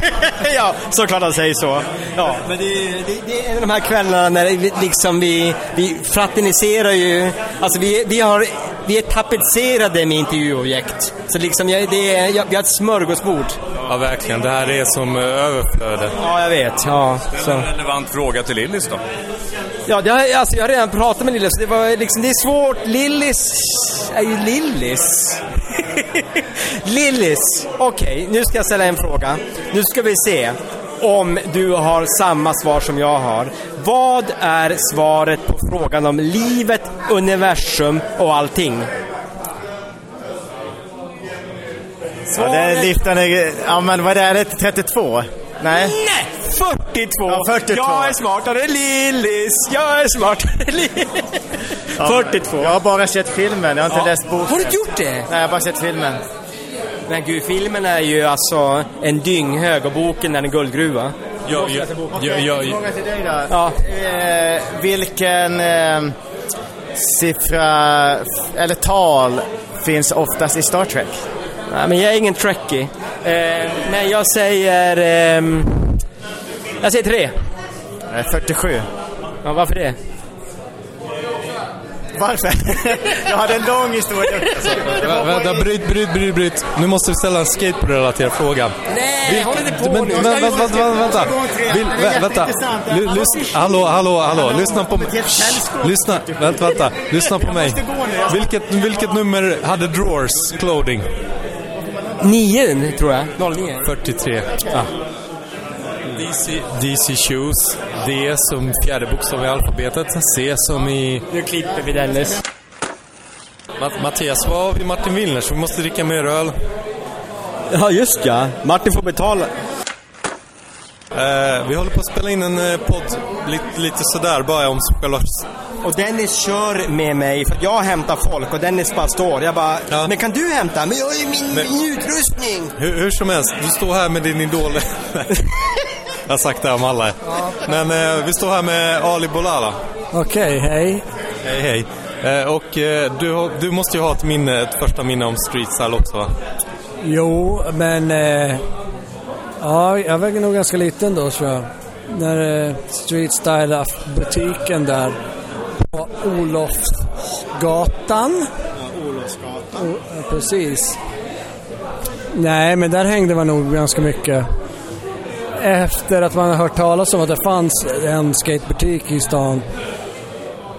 [laughs] ja, såklart han säger så. Ja, men det, det, det är en av de här kvällarna när vi, liksom vi, vi fraterniserar ju. Alltså vi, vi, har, vi är tapetserade med intervjuobjekt. Så liksom, jag, det är, jag, vi har ett smörgåsbord. Ja, verkligen. Det här är som eh, överflöde. Ja, jag vet. Ja, så. En relevant fråga till Lillis då. Ja, det har, alltså, jag har redan pratat med Lillis. Det, var, liksom, det är svårt. Lillis... Är ju Lillis? [laughs] Lillis! Okej, nu ska jag ställa en fråga. Nu ska vi se om du har samma svar som jag har. Vad är svaret på frågan om livet, universum och allting? Ja, den liften är... Ja, men vad är det? 32? Nej? Nej! 42! Ja, 42. Jag är smartare än Lillis! Jag är smartare än Lillis! Ja, 42. Jag har bara sett filmen, jag har inte Ja. läst boken. Har du inte gjort det? Nej, jag har bara sett filmen. Men gud, filmen är ju alltså en dynghög och boken är en guldgruva. Jag, jag, jag, Fråga till dig då. Ja. Eh, vilken eh, siffra f- eller tal finns oftast i Star Trek? Nej, men jag är ingen trekkie. Eh, men jag säger... ehm, jag säger tre. Eh, 47. Ja, varför det? Varför? [laughs] jag hade en lång historia. Vä- Vänta, bryt, bryt, bryt, bryt. Nu måste vi ställa en skateboardrelaterad fråga. Nej, håll inte på men, nu. men, vänta, vänta, vänta. Vill, vä, vänta. Lu- Lyssna, hallå, hallå, hallå. Lyssna på mig. Lyssna, vänta, vänta. Lyssna på mig. Vilket, vilket nummer hade Drawers Clothing? Nio, tror jag. 09. 43. Ah. DC, DC Shoes. D som fjärde bokstav i alfabetet. C som i... Nu klipper vi Dennis. Matt, Mattias var vid Martin Willner så vi måste dricka mer öl. Ja, just ja. Martin får betala. Eh, vi håller på att spela in en eh, podd lite, [laughs] lite sådär bara om själva... Och Dennis kör med mig, för jag hämtar folk och Dennis bara står. Jag bara, men kan du hämta? Men jag har ju Men- min, min utrustning! Hur, hur som helst, du står här med din idol... [laughs] Jag har sagt det här om alla. Men eh, vi står här med Ali Bolala. Okej, hej. Hej, hej. Eh, och eh, du, har- du måste ju ha ett minne, ett första minne om streetstyle också va? Jo, men... Eh, ja, jag var nog ganska liten då tror jag. När eh, Street Style butiken där på Olofsgatan. Olofsgatan. Ja, precis. Nej, men där hängde man nog ganska mycket. Efter att man har hört talas om att det fanns en skatebutik i stan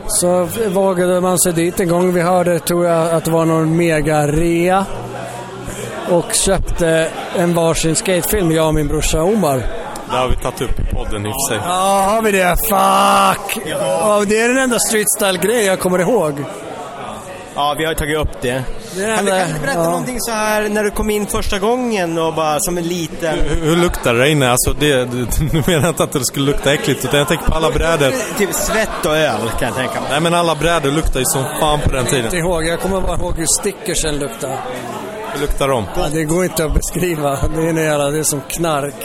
så vågade man sig dit en gång. Vi hörde, tror jag, att det var någon mega-rea och köpte en varsin skatefilm, jag och min brorsa Omar. Det har vi tagit upp i podden i och för sig. Ja, har vi det? Fuck! Ja, det är den enda streetstyle-grejen jag kommer ihåg. Ja, vi har ju tagit upp det. Kan du, kan du berätta ja. någonting så här när du kom in första gången och bara som en liten... Hur luktar det där inne? Alltså det, [laughs] du, du menar inte att det skulle lukta äckligt utan jag tänker på alla brädor. Typ svett och öl kan jag tänka mig. Nej men alla brädor luktar ju som fan på den Jag kommer inte tiden. ihåg, jag kommer bara ihåg hur stickersen luktar. Hur luktar de? Ja, det går inte att beskriva. Det är, en jävla, det är som knark.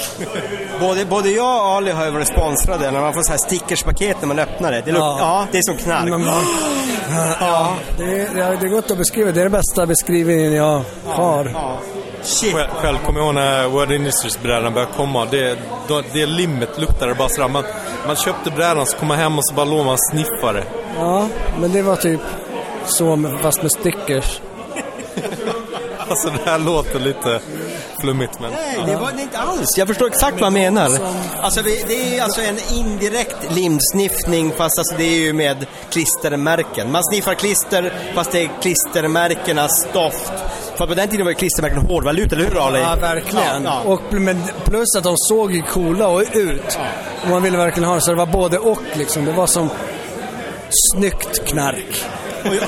Både, både jag och Ali har ju varit sponsrade när man får så här stickerspaket när man öppnar det. Det, luk- ja. Ja. det är som knark. Men man- Ja. Det, är- ja, det går inte att beskriva. Det är den bästa beskrivningen jag har. Själv, själv kommer jag ihåg när World Industries-brädan började komma. Det, då- det limmet luktade bara sådär. Man, man köpte brädan, så kom man hem och så bara låg man och sniffade. [laughs] Ja, men det var typ så, men fast med stickers. Alltså det här låter lite flummigt men... Nej, det var det inte alls. Jag förstår exakt vad han menar. Alltså det, det är alltså en indirekt limsniffning fast alltså det är ju med klistermärken. Man sniffar klister fast det är klistermärkenas doft. För på den tiden var ju klistermärken hårdvaluta, eller hur Ali? Ja, verkligen. Ja, ja. Och, men plus att de såg ju coola och ut. Och man ville verkligen ha det, så det var både och liksom. Det var som snyggt knark.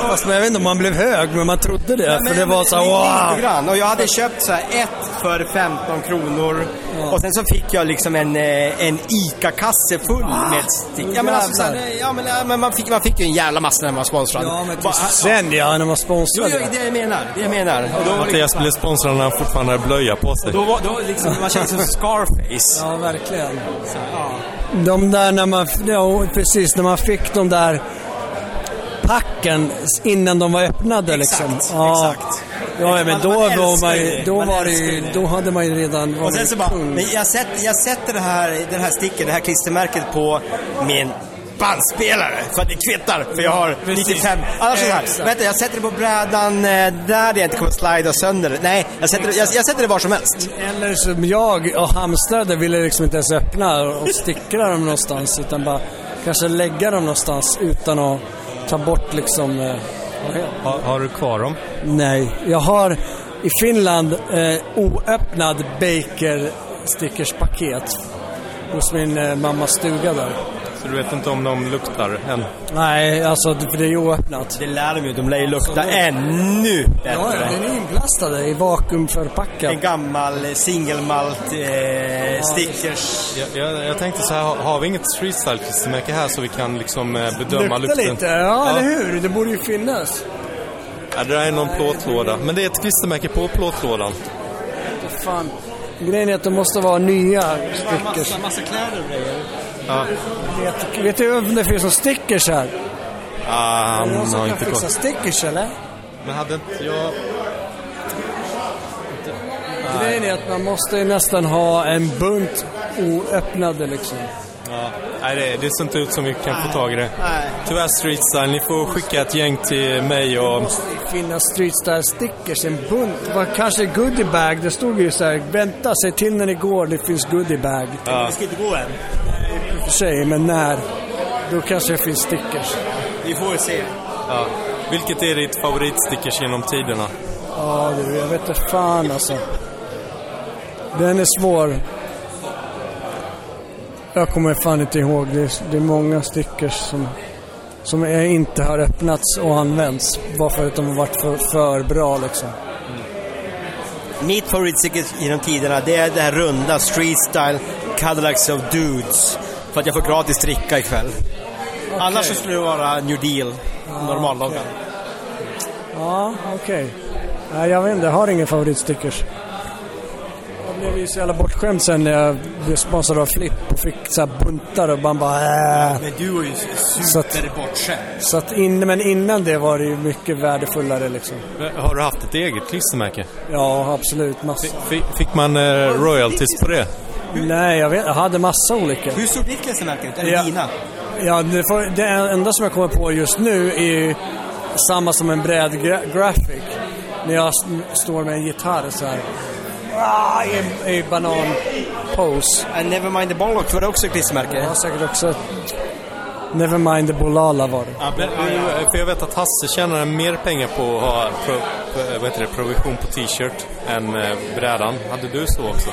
Fast jag vet inte om man blev hög, men man trodde det. Men- för det var så här, lite- wow! lite grann. Och jag hade köpt så här ett för 15 kronor. Och sen så fick jag liksom en, eh, en ICA-kasse full med stick. Ja men alltså så här, Ah, Jävlar. ja men, ja, men man, fick, man fick ju en jävla massa när man var sponsrad. Ja, men Bara- till sen ja, när man Jo, sponsrade. jo, det är det jag menar. Det jag menar. Och då var det Mattias blev sponsrad när han fortfarande hade blöja på sig. Då var då liksom, man kände sig [laughs] som Scarface. Ja, verkligen. De där när man, ja, precis, när man fick de där packen innan de var öppnade liksom. Ja, exakt. Ja, men då Man- man var älskar man ju ju, det. då Man var det älskar ju, ju det. då hade man ju redan Och varit sen så bara, kung. Mm. men jag sätter, jag sätter det här, den här sticken, det här klistermärket på min bandspelare. För att det kvittar, för jag har Precis. 95. Annars är det så här, Exakt. vänta jag sätter det på brädan eh, där det inte kommer slida sönder. det. Nej, jag sätter, det- jag, jag sätter det var som helst. Eller som jag och hamstrade ville liksom inte ens öppna och stickra dem någonstans utan bara kanske lägga dem någonstans utan att ta bort liksom... eh, vad heter Har, har du kvar dem? Nej, jag har i Finland eh, oöppnad Baker stickerspaket hos min eh, mammas stuga där. Så du vet inte om de luktar än? Nej, alltså för det är ju oöppnat. Det lär de ju, de lär ju lukta ännu bättre. Ja, ja, den är inplastad i vakuumförpackad. En gammal eh, singelmalt eh, stickers. Jag, jag, jag tänkte så här, har- har vi inget freestyle-klistermärke här så vi kan liksom eh, bedöma Luktar lukten? lite, ja, eller hur? Det borde ju finnas. Ja, det där är någon plåtlåda. Men det är ett klistermärke på plåtlådan. Fan. Grejen är att de måste vara nya stickers. massa kläder Ja. Vet, vet du om det finns några stickers här? Ah, Um, är det någon han som har kan inte fixa koll. stickers eller? Men hade inte jag... Grejen är att man måste ju nästan ha en bunt oöppnade liksom. Ja. Nej, det, det ser inte ut som vi kan få tag i det. Tyvärr streetstyle, ni får skicka ett gäng till mig och... finnas streetstyle-stickers, en bunt. Det var kanske goodiebag. Det stod ju så här, vänta, säg till när det går, det finns goodiebag. Ja. ska inte gå än. I och för sig, men när? Då kanske det finns stickers. Vi får se. Ja. Vilket är ditt favoritstickers genom tiderna? Ja, du, jag vet inte fan alltså. Den är svår. Jag kommer fan inte ihåg. Det är, det är många stickers som, som jag inte har öppnats och använts. Bara för att de har varit för, för bra liksom. Mitt favoritsticker genom tiderna, det är det här runda Streetstyle Cadillacs of Dudes. För att jag får gratis dricka ikväll. Annars så skulle det vara New Deal, Ah, normalloggan. Ja, okej. Nej, jag vet inte. Jag har ingen favoritstickers. Jag blev ju så jävla bortskämd sen när jag blev sponsrad av Flipp och fick så här buntar och man bara äh. Men du var ju Så att- superbortskämd. Så att in, men innan det var det ju mycket värdefullare liksom. Har du haft ett eget klistermärke? Ja, absolut. Massa. Fick man eh, royalties på det? Nej, jag, vet, jag hade massa olika. Hur såg ditt klistermärke ut? Är det Ja. dina? Ja, det, får, det enda som jag kommer på just nu är ju samma som en brädgraphic. När jag s- står med en gitarr så här. Ah, i- I banan-pose. And Nevermind the Bollock var det också ett klistermärke? Ja, säkert också. Nevermind the Bolala var det. Ja, men, eh, för jag vet att Hasse tjänar mer pengar på att ha pro, eh, vad heter det, provision på t-shirt än eh, brädan. Hade du så också?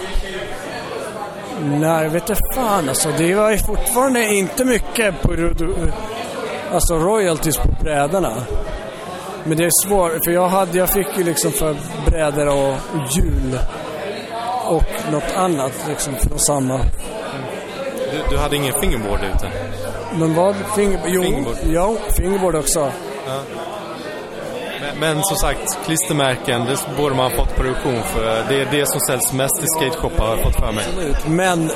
Nej, jag vet inte fan alltså. Det var ju fortfarande inte mycket på... Alltså royalties på brädorna. Men det är svårt, för jag, hade, jag fick ju liksom för brädor och hjul och något annat liksom från samma. Du, du hade ingen fingerboard ute? Men vad? Finger, jo, Fingerboard. jo, fingerboard också. Ja. Men, men som sagt, klistermärken, det borde man ha fått på auktion för det är det som säljs mest i skateshoppar har jag fått för mig. Absolut. Men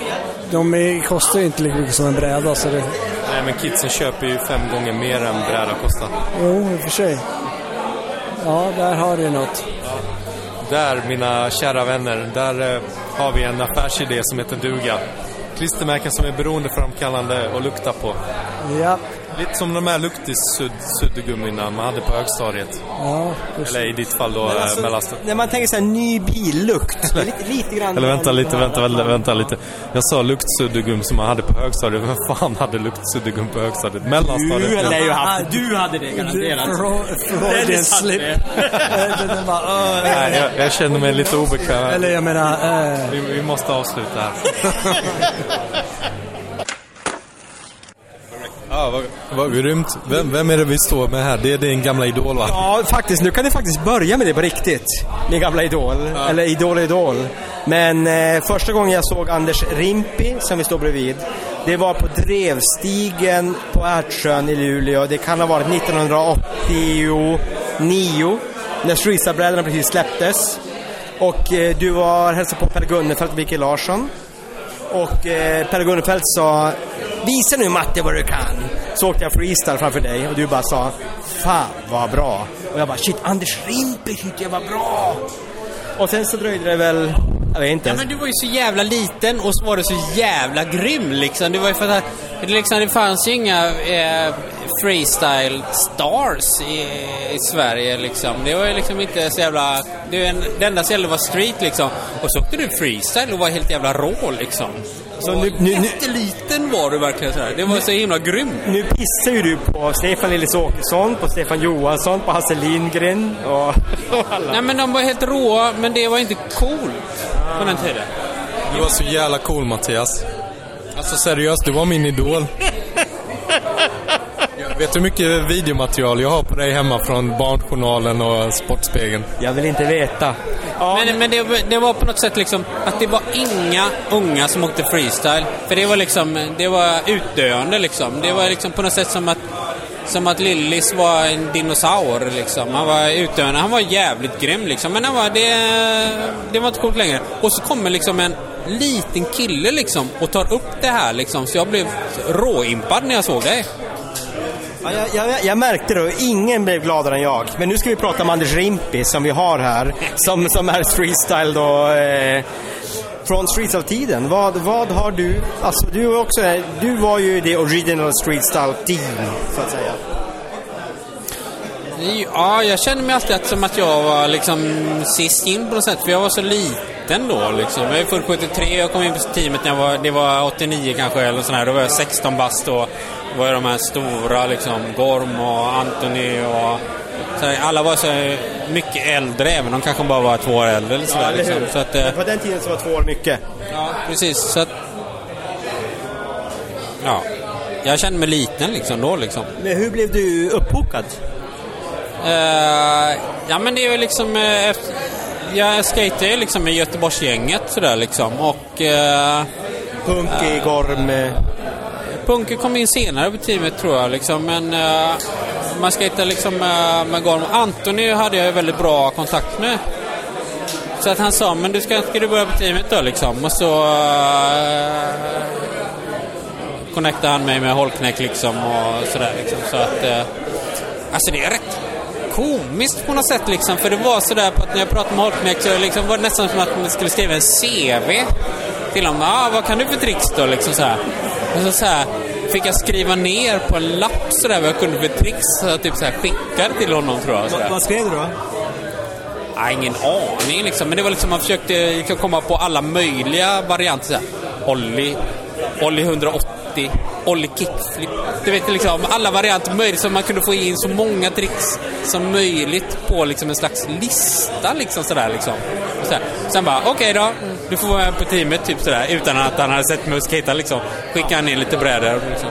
de är, kostar ju inte lika mycket som en bräda så det... Nej men kidsen köper ju fem gånger mer än brädan kostar. Jo, i och för sig. Ja, där har du något. Där, mina kära vänner, där eh, har vi en affärsidé som heter duga. Klistermärken som är beroendeframkallande och lukta på. Ja. Lite som de här luktis-suddgummina man hade på högstadiet. Ja, Eller i ditt fall då, Men alltså, alltså, mellanstadiet. När man tänker så här [laughs] ny billukt. det är lite, lite grann Eller vänta lite, vänta, vänta, vänta lite. Jag sa luktsuddgum som man hade på högstadiet. Vem fan hade luktsuddgum på högstadiet? Mellanstadiet? Du hade ju haft Du hade det garanterat. Freudian slip. Den bara, "Åh, Nej, jag, jag känner mig lite obekväm. Eller jag menar... eh, Vi, vi måste avsluta här. Ja, vad, vad grymt. Vem, vem är det vi står med här? Det är din gamla idol va? Ja, faktiskt. Nu kan du faktiskt börja med det på riktigt. Min gamla idol. Eller idol och idol. Men eh, första gången jag såg Anders Rimpi, som vi står bredvid, det var på Drevstigen på Ärtsjön i Luleå. Det kan ha varit 1989, när Streetstyle-brädorna precis släpptes. Och eh, du var hälsade på Per Gunnefelt och Micke Larsson. Och eh, Per Gunnefelt sa Visa nu Matte vad du kan. Så åkte jag freestyle framför dig och du bara sa Fan vad bra. Och jag bara shit Anders Rimpe tyckte jag var bra. Och sen så dröjde det väl, jag vet inte. Ja, men du var ju så jävla liten och så var du så jävla grym liksom. Det var ju för att det, liksom, det fanns ju inga eh, freestyle stars i, i Sverige liksom. Det var ju liksom inte så jävla... Det, var en, det enda som gällde var street liksom. Och så åkte du freestyle och var helt jävla rå liksom. Så nu, Jätteliten var du verkligen så här. Det var så himla grymt. Nu pissar ju du på Stefan Lillis Åkesson, på Stefan Johansson, på Hasse Lindgren och, och alla. Nej men de var helt råa, men det var inte coolt på den [laughs] tiden. Du var så jävla cool Mattias. Alltså seriöst, du var min idol. Jag vet du hur mycket videomaterial jag har på dig hemma från Barnjournalen och Sportspegeln? Jag vill inte veta. men men det, det var på något sätt liksom att det var inga unga som åkte freestyle. För det var liksom, det var utdöende liksom. Det var liksom på något sätt som att, som att Lillis var en dinosaur liksom. Han var utdöende. Han var jävligt grym liksom. Men han var, det, det var inte coolt längre. Och så kommer liksom en liten kille liksom och tar upp det här liksom. Så jag blev råimpad när jag såg dig. Ja, jag, jag, jag märkte det och ingen blev gladare än jag. Men nu ska vi prata om Anders Rimpi som vi har här. Som, som är freestyle då. Eh, från freestyle-tiden. Vad, vad har du? Alltså du, är också, du var ju det original freestyle-team så att säga. Ja, jag kände mig alltid att, som att jag var liksom sist in på något sätt, för jag var så liten då liksom. Jag är född 73 jag kom in på teamet när jag var, det var 89 kanske eller sådär. Då var jag 16 bast då. Då var jag de här stora liksom, Gorm och Anthony och så här, alla var så mycket äldre, även om de kanske bara var två år äldre eller sådär. liksom. så att, eh, På den tiden så var två år mycket. Ja, precis. Så att, ja. Jag kände mig liten liksom då liksom. Men Eh, hur blev du upphokad? Eh, ja men det är ju liksom... eh, efter, jag skater ju liksom i Göteborgsgänget sådär liksom och... Uh, Punky, Gorm... Punky kom in senare på teamet tror jag liksom men... eh, man skejtar liksom eh, med Gorm. Antoni hade jag ju väldigt bra kontakt med. Så att han sa, men du ska, ska du börja på teamet då liksom? Och så... eh, connectade han mig med Holknäck liksom och sådär liksom. Så att... eh, alltså det är rätt komiskt på något sätt liksom. För det var sådär på att när jag pratade med Holknäck så liksom var det nästan som att man skulle skriva en CV till honom. Ah, vad kan du för tricks då? Liksom såhär. Och så såhär fick jag skriva ner på en lapp sådär vad jag kunde för tricks. Så jag typ såhär skickade till honom tror jag. sådär. Vad skrev du [laughs] då? Ja, ingen aning liksom. Men det var liksom, man försökte liksom komma på alla möjliga varianter. Så här, Ollie, Ollie 180, Ollie kickflip. Du vet liksom, alla varianter möjligt så man kunde få in så många tricks som möjligt på liksom en slags lista liksom sådär liksom. Och så här. Sen bara, okej då, du får vara med på teamet typ sådär. Utan att han hade sett mig skejta liksom. Skickade han in lite brädor liksom.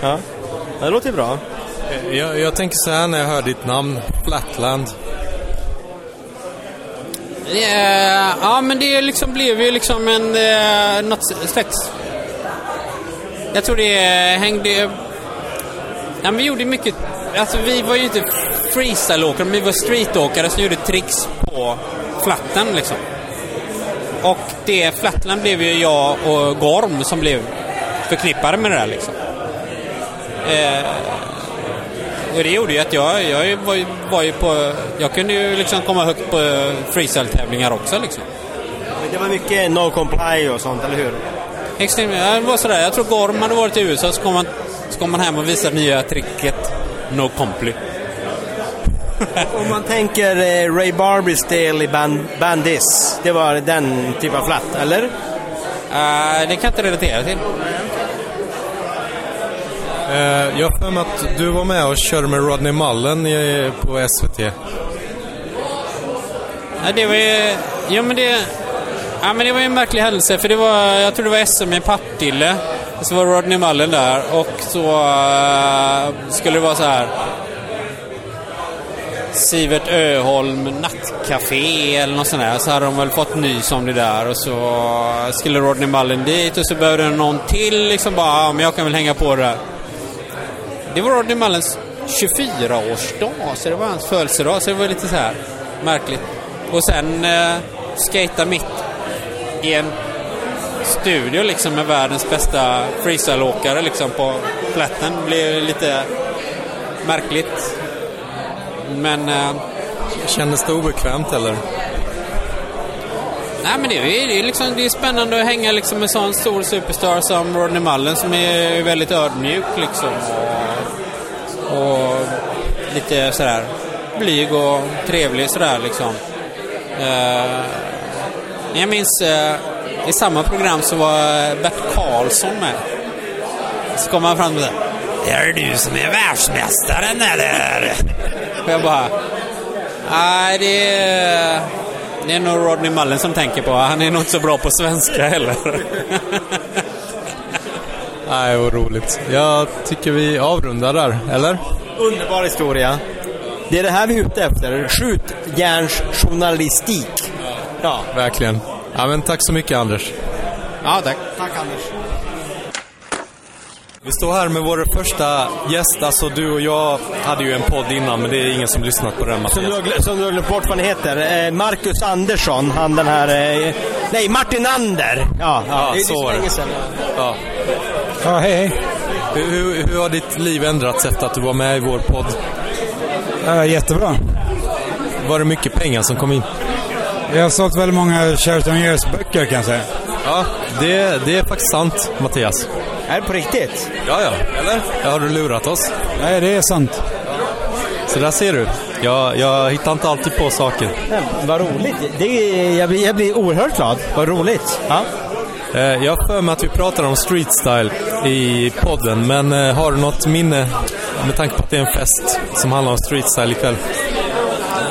Ja. Ja, Det låter ju bra. Jag, jag tänker så här när jag hör ditt namn, Flatland. Eh, ja, men det liksom blev ju liksom en... Eh, något slags... Jag tror det eh, hängde... Ja, men vi gjorde mycket... Alltså vi var ju inte freestyleåkare, men vi var streetåkare som gjorde tricks på flatten liksom. Och det flatland blev ju jag och Gorm som blev förknippade med det där liksom. Eh, och det gjorde ju att jag, jag var, ju, var ju på... Jag kunde ju liksom komma högt på freestyle-tävlingar också liksom. Men det var mycket no comply och sånt, eller hur? Extremt, ja, det var sådär. Jag tror Gorm hade varit i USA så kom man, så kom man hem och visade nya tricket No Comply. Om man tänker eh, Ray Barbies del i band, Bandis, det var den typen av flatt, eller? Eh, det kan jag inte relatera till. Eh, Jag har för mig att du var med och körde med Rodney Mullen i- på SVT. Ja, det var ju... Ja, men det... Ja, men det var ju en märklig händelse för det var... Jag tror det var SM i Partille. Så var Rodney Mullen där och så eh, skulle det vara så här... Sivert Öholm nattcafé eller något sånt där. Så hade de väl fått nys om det där och så skulle Rodney Mullen dit och så behövde någon till liksom bara, ja men jag kan väl hänga på det där. Det var Rodney Mullens 24-årsdag, så det var hans födelsedag, så det var lite så här märkligt. Och sen eh, skata mitt i en studio liksom med världens bästa freestyleåkare liksom på plätten. Det blev lite märkligt. Men... Eh, Kändes det obekvämt eller? Nej men det är, det är, liksom, det är spännande att hänga liksom med en sån stor superstar som Rodney Mullen som är väldigt ödmjuk liksom. Och lite sådär blyg och trevlig sådär liksom. Eh, jag minns eh, i samma program så var Bert Karlsson med. Så kom han fram och sa Är det du som är världsmästaren eller? Och jag bara Nej, det är, det är nog Rodney Mullen som tänker på. Han är nog inte så bra på svenska heller. [laughs] Nej, vad roligt. Jag tycker vi avrundar där, eller? Underbar historia. Det är det här vi är ute efter. Skjutjärnsjournalistik. Ja. Verkligen. Ja, men tack så mycket Anders. Ja, tack. Tack Anders. Vi står här med vår första gäst. Alltså du och jag hade ju en podd innan, men det är ingen som lyssnat på den Som du Mattias. har glö- som du har glömt bort vad han heter. Eh, Marcus Andersson, han den här... Eh, nej, Martin Ander! Ja, Ja, det är så så var länge det. sedan. Ja. Ja, hej hej. Hur, hur, hur har ditt liv ändrats efter att du var med i vår podd? Ja, jättebra. Var det mycket pengar som kom in? Jag har sålt väldigt många Sheraton Years böcker kan jag säga. Ja, det, det är faktiskt sant, Mattias. Är det på riktigt? Ja, ja. Eller? Ja, Har du lurat oss? Nej, det är sant. Så där ser du. Jag, jag hittar inte alltid på saker. Nej, vad roligt. Det, är- jag, blir, jag blir oerhört glad. Vad roligt. Ja. Eh, Jag har för mig att vi pratade om street style i podden, men eh, har du något minne med tanke på att det är en fest som handlar om street style ikväll?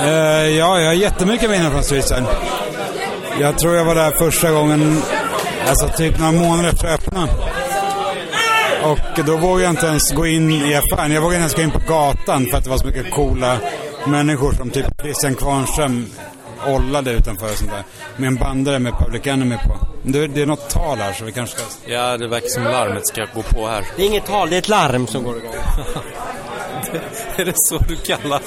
Eh, ja, jag har jättemycket minnen från Streetsen. Jag tror jag var där första gången, alltså typ några månader efter att öppna. Och då vågade jag inte ens gå in i affären. Jag vågade inte ens gå in på gatan för att det var så mycket coola människor som typ Christian Kvarnström ollade utanför och sånt där. Med en bandare med Public Enemy på. Det, det är något tal här så vi kanske ska... Ja, det verkar som larmet ska gå på här. Det är inget tal, det är ett larm som går igång. [laughs] Är det så du kallar?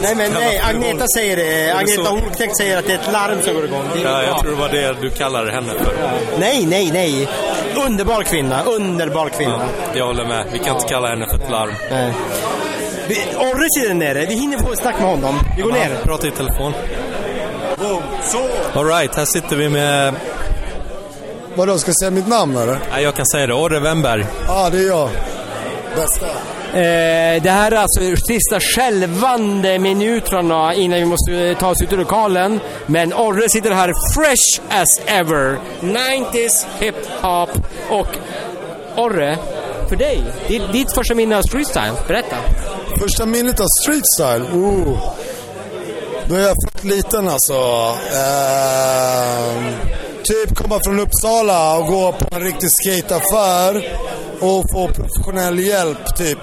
Nej, men nej. Agneta säger det. Är det så? Agneta Holknekt säger att det är ett larm som går igång. Det är Ja, inget jag tal. tror det var det du kallade henne för. Nej, nej, nej. Underbar kvinna. Underbar kvinna. Jag håller med. Vi kan inte kalla henne för ett larm. Nej. Vi- Orre sitter nere. Vi hinner få ett snack med honom. Vi går ner. Prata i telefon. Alright, här sitter vi med... Vadå, ska jag säga mitt namn eller? Nej, jag kan säga det. Orre Wennberg. Ja, ah, det är jag. Bästa. Eh, det här är alltså sista skälvande minuterna innan vi måste eh, ta oss ut ur lokalen. Men Orre sitter här fresh as ever. 90s hiphop och Orre, för dig, ditt, ditt första minne av freestyle, berätta. Första minnet av street style? Oh. Då är jag fett liten alltså. Ehm, typ komma från Uppsala och gå på en riktig skateaffär och få professionell hjälp typ.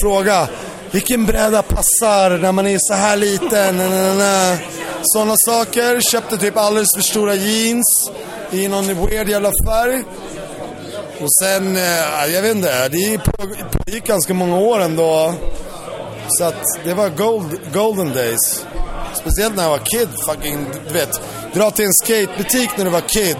fråga. Vilken bräda passar när man är så här liten? Sådana saker. Köpte typ alldeles för stora jeans i någon weird jävla färg. Och sen, eh, jag vet inte, det påg- pågick ganska många år ändå. Så att det var gold, golden days. Speciellt när jag var kid, fucking, du vet. Dra till en skatebutik när du var kid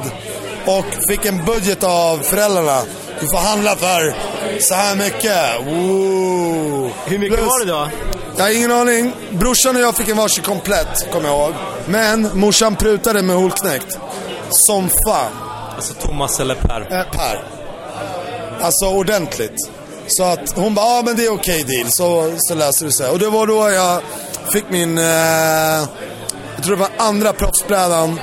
och fick en budget av föräldrarna. Du får handla för så här mycket. Woo. Hur mycket var det då? Jag har ingen aning. Brorsan och jag fick en varsin komplett, kommer jag ihåg. Men morsan prutade med Holknekt. Som fan. Alltså Thomas eller Per? Eh, per. Alltså ordentligt. Så att hon bara, ja ah, men det är okej deal, så, så läser du sig. Och det var då jag fick min, eh, jag tror det var andra proffsbrädan.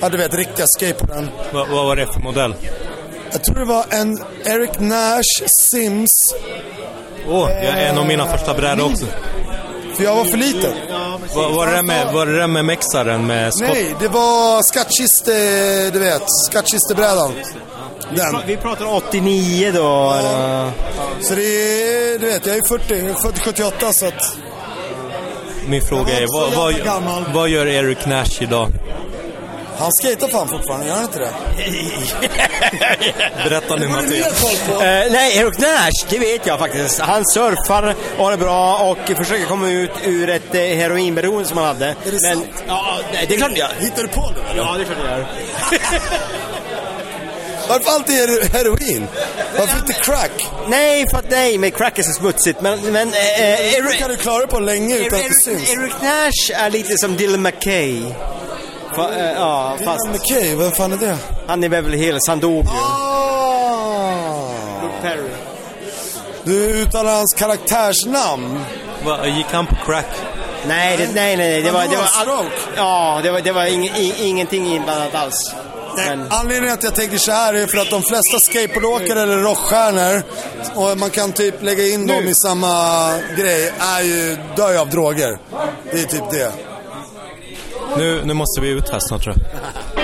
Ja du vet, riktiga skateboarden. Vad, vad var det för modell? Jag tror det var en Eric Nash Sims. Åh, oh, jag är en av mina första brädor också. För jag var för liten. Var, var, det där med, var det där med mexaren med skott? Nej, det var skattkiste, du vet, skattkistebrädan. Den. Vi pratar 89 då. eller? Så det är, du vet, jag är 40, jag är född 78 så att... Min fråga är, vad, vad, gör- vad gör Eric Nash idag? Han skejtar fan fortfarande, gör [laughs] han inte det? Berätta nu Mattias. Eh, nej, Eric Nash, det vet jag faktiskt. Han surfar och har det bra och försöker komma ut ur ett eh, heroinberoende som han hade. Är det Men, sant? Ja, det är klart jag Hittar du på det? Ja, det är klart jag gör. Varför alltid är heroin? Varför inte crack? Nej, för att [laughs] nej, men crack är så smutsigt. Men, men eh, eh, Eric, kan du klara det på länge utan att det Eric, Eric Nash är lite som Dylan McKay. Fa, eh, ja, Dylan fast... McKay, vem fan är det? Han är Beverly Hills, han dog ju. Perry. Du uttalar hans karaktärsnamn. Va, gick han på crack? Nej, det, nej, nej, nej. Eh, Det Han var, dog det var av all... Ja, det var, det var ing, i, ingenting inblandat alls. Men... Anledningen att jag tänker så här är för att de flesta skateboardåkare eller rockstjärnor, och man kan typ lägga in dem i samma grej, är ju, dör ju av droger. Det är typ det. Nu, nu måste vi ut här snart tror jag.